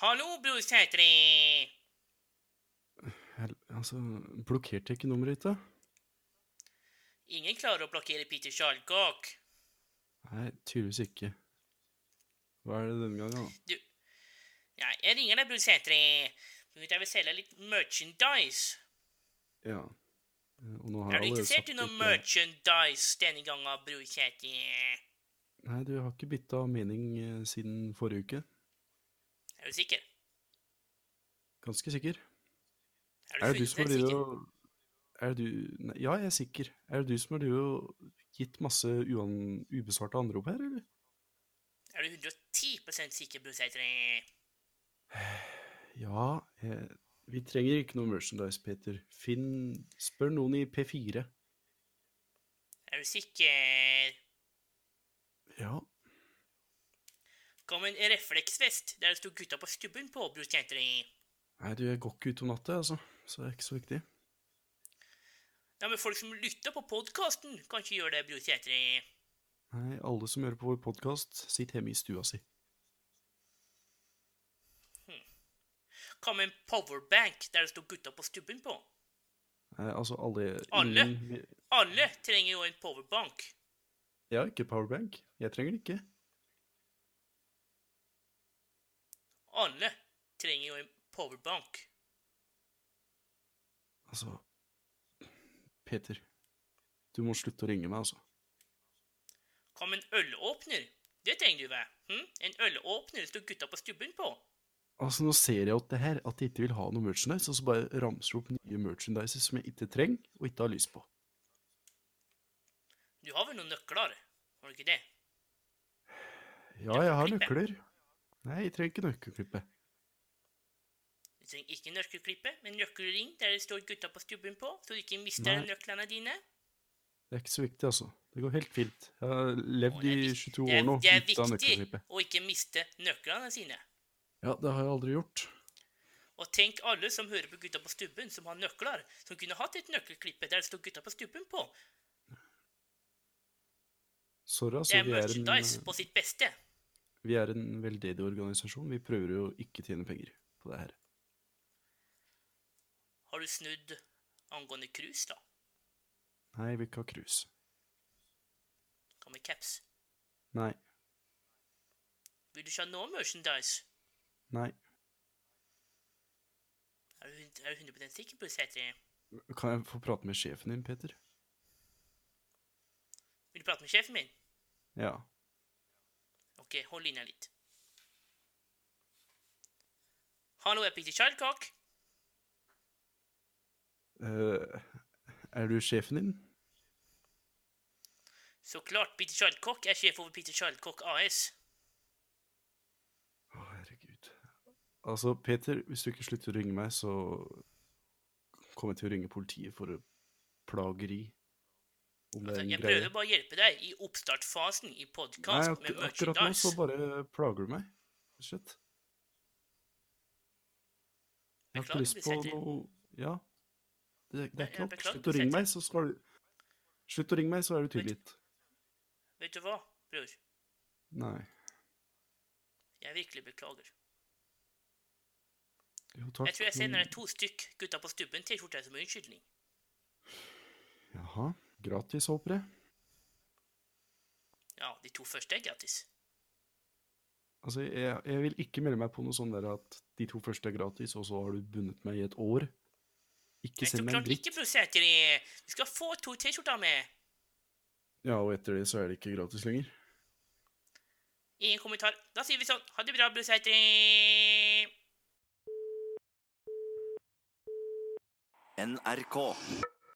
B: Hallo, bror Sætri.
A: Hel altså, blokkerte jeg ikke nummeret ditt, da?
B: Ingen klarer å blokkere Peter Sjalkok.
A: Nei, tydeligvis ikke. Hva er det denne gangen, da?
B: Nei, jeg ringer deg, bror Sætri. Jeg vil selge litt merchandise.
A: Ja. Eh, Og nå har
B: Er du
A: jeg allerede
B: interessert
A: sagt eh,
B: i noe
A: at jeg-
B: merchandise denne gangen, bror Sætri?
A: Nei, du har ikke bytta mening eh, siden forrige uke.
B: Er du sikker?
A: Ganske sikker.
B: Er
A: Er det du som har
B: fullstendig
A: drevet
B: sikker?
A: og Er det du Nei, ja, jeg er sikker. Er det du som har drevet og gitt masse uan, ubesvarte anrop her, eller?
B: Er du 110 sikker, Bruseitri?
A: Ja, jeg, vi trenger ikke noe merchandise, Peter. Finn Spør noen i P4.
B: Er du sikker?
A: Ja,
B: Kom en refleksvest der det sto gutta på stubben på, Bruseitri.
A: Nei, du, jeg går ikke ut om natta, altså. Så det er ikke så viktig.
B: Ja, men folk som lytter på podkasten, kan ikke gjøre det, Bruseitri.
A: Nei, alle som hører på vår podkast, sitter hjemme i stua si.
B: Kom en powerbank der det sto gutta på stubben på.
A: Nei, altså alle
B: Alle?
A: ingen-
B: Alle trenger jo en powerbank.
A: Jeg har ikke powerbank. Jeg trenger det ikke.
B: Alle trenger jo en powerbank.
A: Altså Peter, du må slutte å ringe meg, altså.
B: Kom en ølåpner. Det trenger du, hva? Hm? En ølåpner sto gutta på stubben på.
A: Altså, Nå ser jeg at det her, at de ikke vil ha noe merchandise, og så bare ramser du opp nye merchandiser som jeg ikke trenger, og ikke har lyst på.
B: Du har vel noen nøkler? Har du ikke det?
A: Ja, jeg har nøkler. Nei, jeg trenger ikke nøkkelklippet.
B: Du trenger ikke nøkkelklippe, men nøkkelring der det står gutta på stubben på, så du ikke mister
A: Nei.
B: nøklene dine.
A: Det er ikke så viktig, altså. Det går helt fint. Jeg har
B: Og
A: levd
B: det
A: i
B: er vik-
A: 22
B: det er-
A: år nå
B: Det er
A: uten
B: viktig
A: nøkkelklippet.
B: å ikke miste nøklene sine.
A: Ja, det har jeg aldri gjort.
B: Og tenk alle som hører på Gutta på stubben, som har nøkler, som kunne hatt et nøkkelklippe der det står Gutta på stubben på.
A: Sorry,
B: Det
A: altså.
B: er
A: Vi er,
B: merchandise
A: en,
B: på sitt beste.
A: vi er en veldedig organisasjon. Vi prøver jo ikke tjene penger på det her.
B: Har du snudd angående krus, da?
A: Nei, vi ikke har cruise.
B: Hva med caps?
A: Nei.
B: Vil du ikke ha noe merchandise?
A: Nei.
B: Er du, hund- er du 100 sikker på det, Sætre?
A: Kan jeg få prate med sjefen din, Peter?
B: Vil du prate med sjefen min?
A: Ja.
B: Ok, hold linja litt. Hallo, jeg pikte kjærkak.
A: Eh, er du sjefen din?
B: Så klart, Peter Kjærkak er sjef over Peter Kjærkak AS.
A: Å, herregud. Altså, Peter, hvis du ikke slutter å ringe meg, så kommer jeg til å ringe politiet for plageri. Om det
B: Altså,
A: er en
B: jeg
A: greie.
B: prøver bare å hjelpe deg i oppstartfasen i
A: Nei,
B: podkast
A: ak
B: med
A: akkurat nå så
B: merchandise.
A: bare plager du meg. Shit. Jeg har ikke
B: Beklager,
A: lyst på
B: Peter.
A: noe Ja. Det, det
B: Nei,
A: er ikke
B: jeg
A: nok.
B: beklager,
A: Slutt å ringe
B: Peter.
A: meg, så skal du Slutt å ringe meg, så er du
B: Vet-
A: tilgitt.
B: Vet du hva, bror?
A: Nei.
B: Jeg virkelig beklager.
A: Jo, takk.
B: Jeg tror jeg
A: men-
B: sender deg to stykk Gutta på stubben T-skjorte som unnskyldning.
A: Jaha. Gratis, håper jeg.
B: Ja, de to første er gratis.
A: Altså, jeg, jeg vil ikke melde meg på noe sånn der at de to første er gratis, og så har du bundet meg i et år. Ikke
B: Men så
A: send meg en
B: klart
A: dritt.
B: ikke, bror Sæteri. Du skal få to T-skjorter med.
A: Ja, og etter det så er det ikke gratis lenger.
B: Ingen kommentar. Da sier vi sånn. Ha det bra, bror Sæteri.
F: NRK.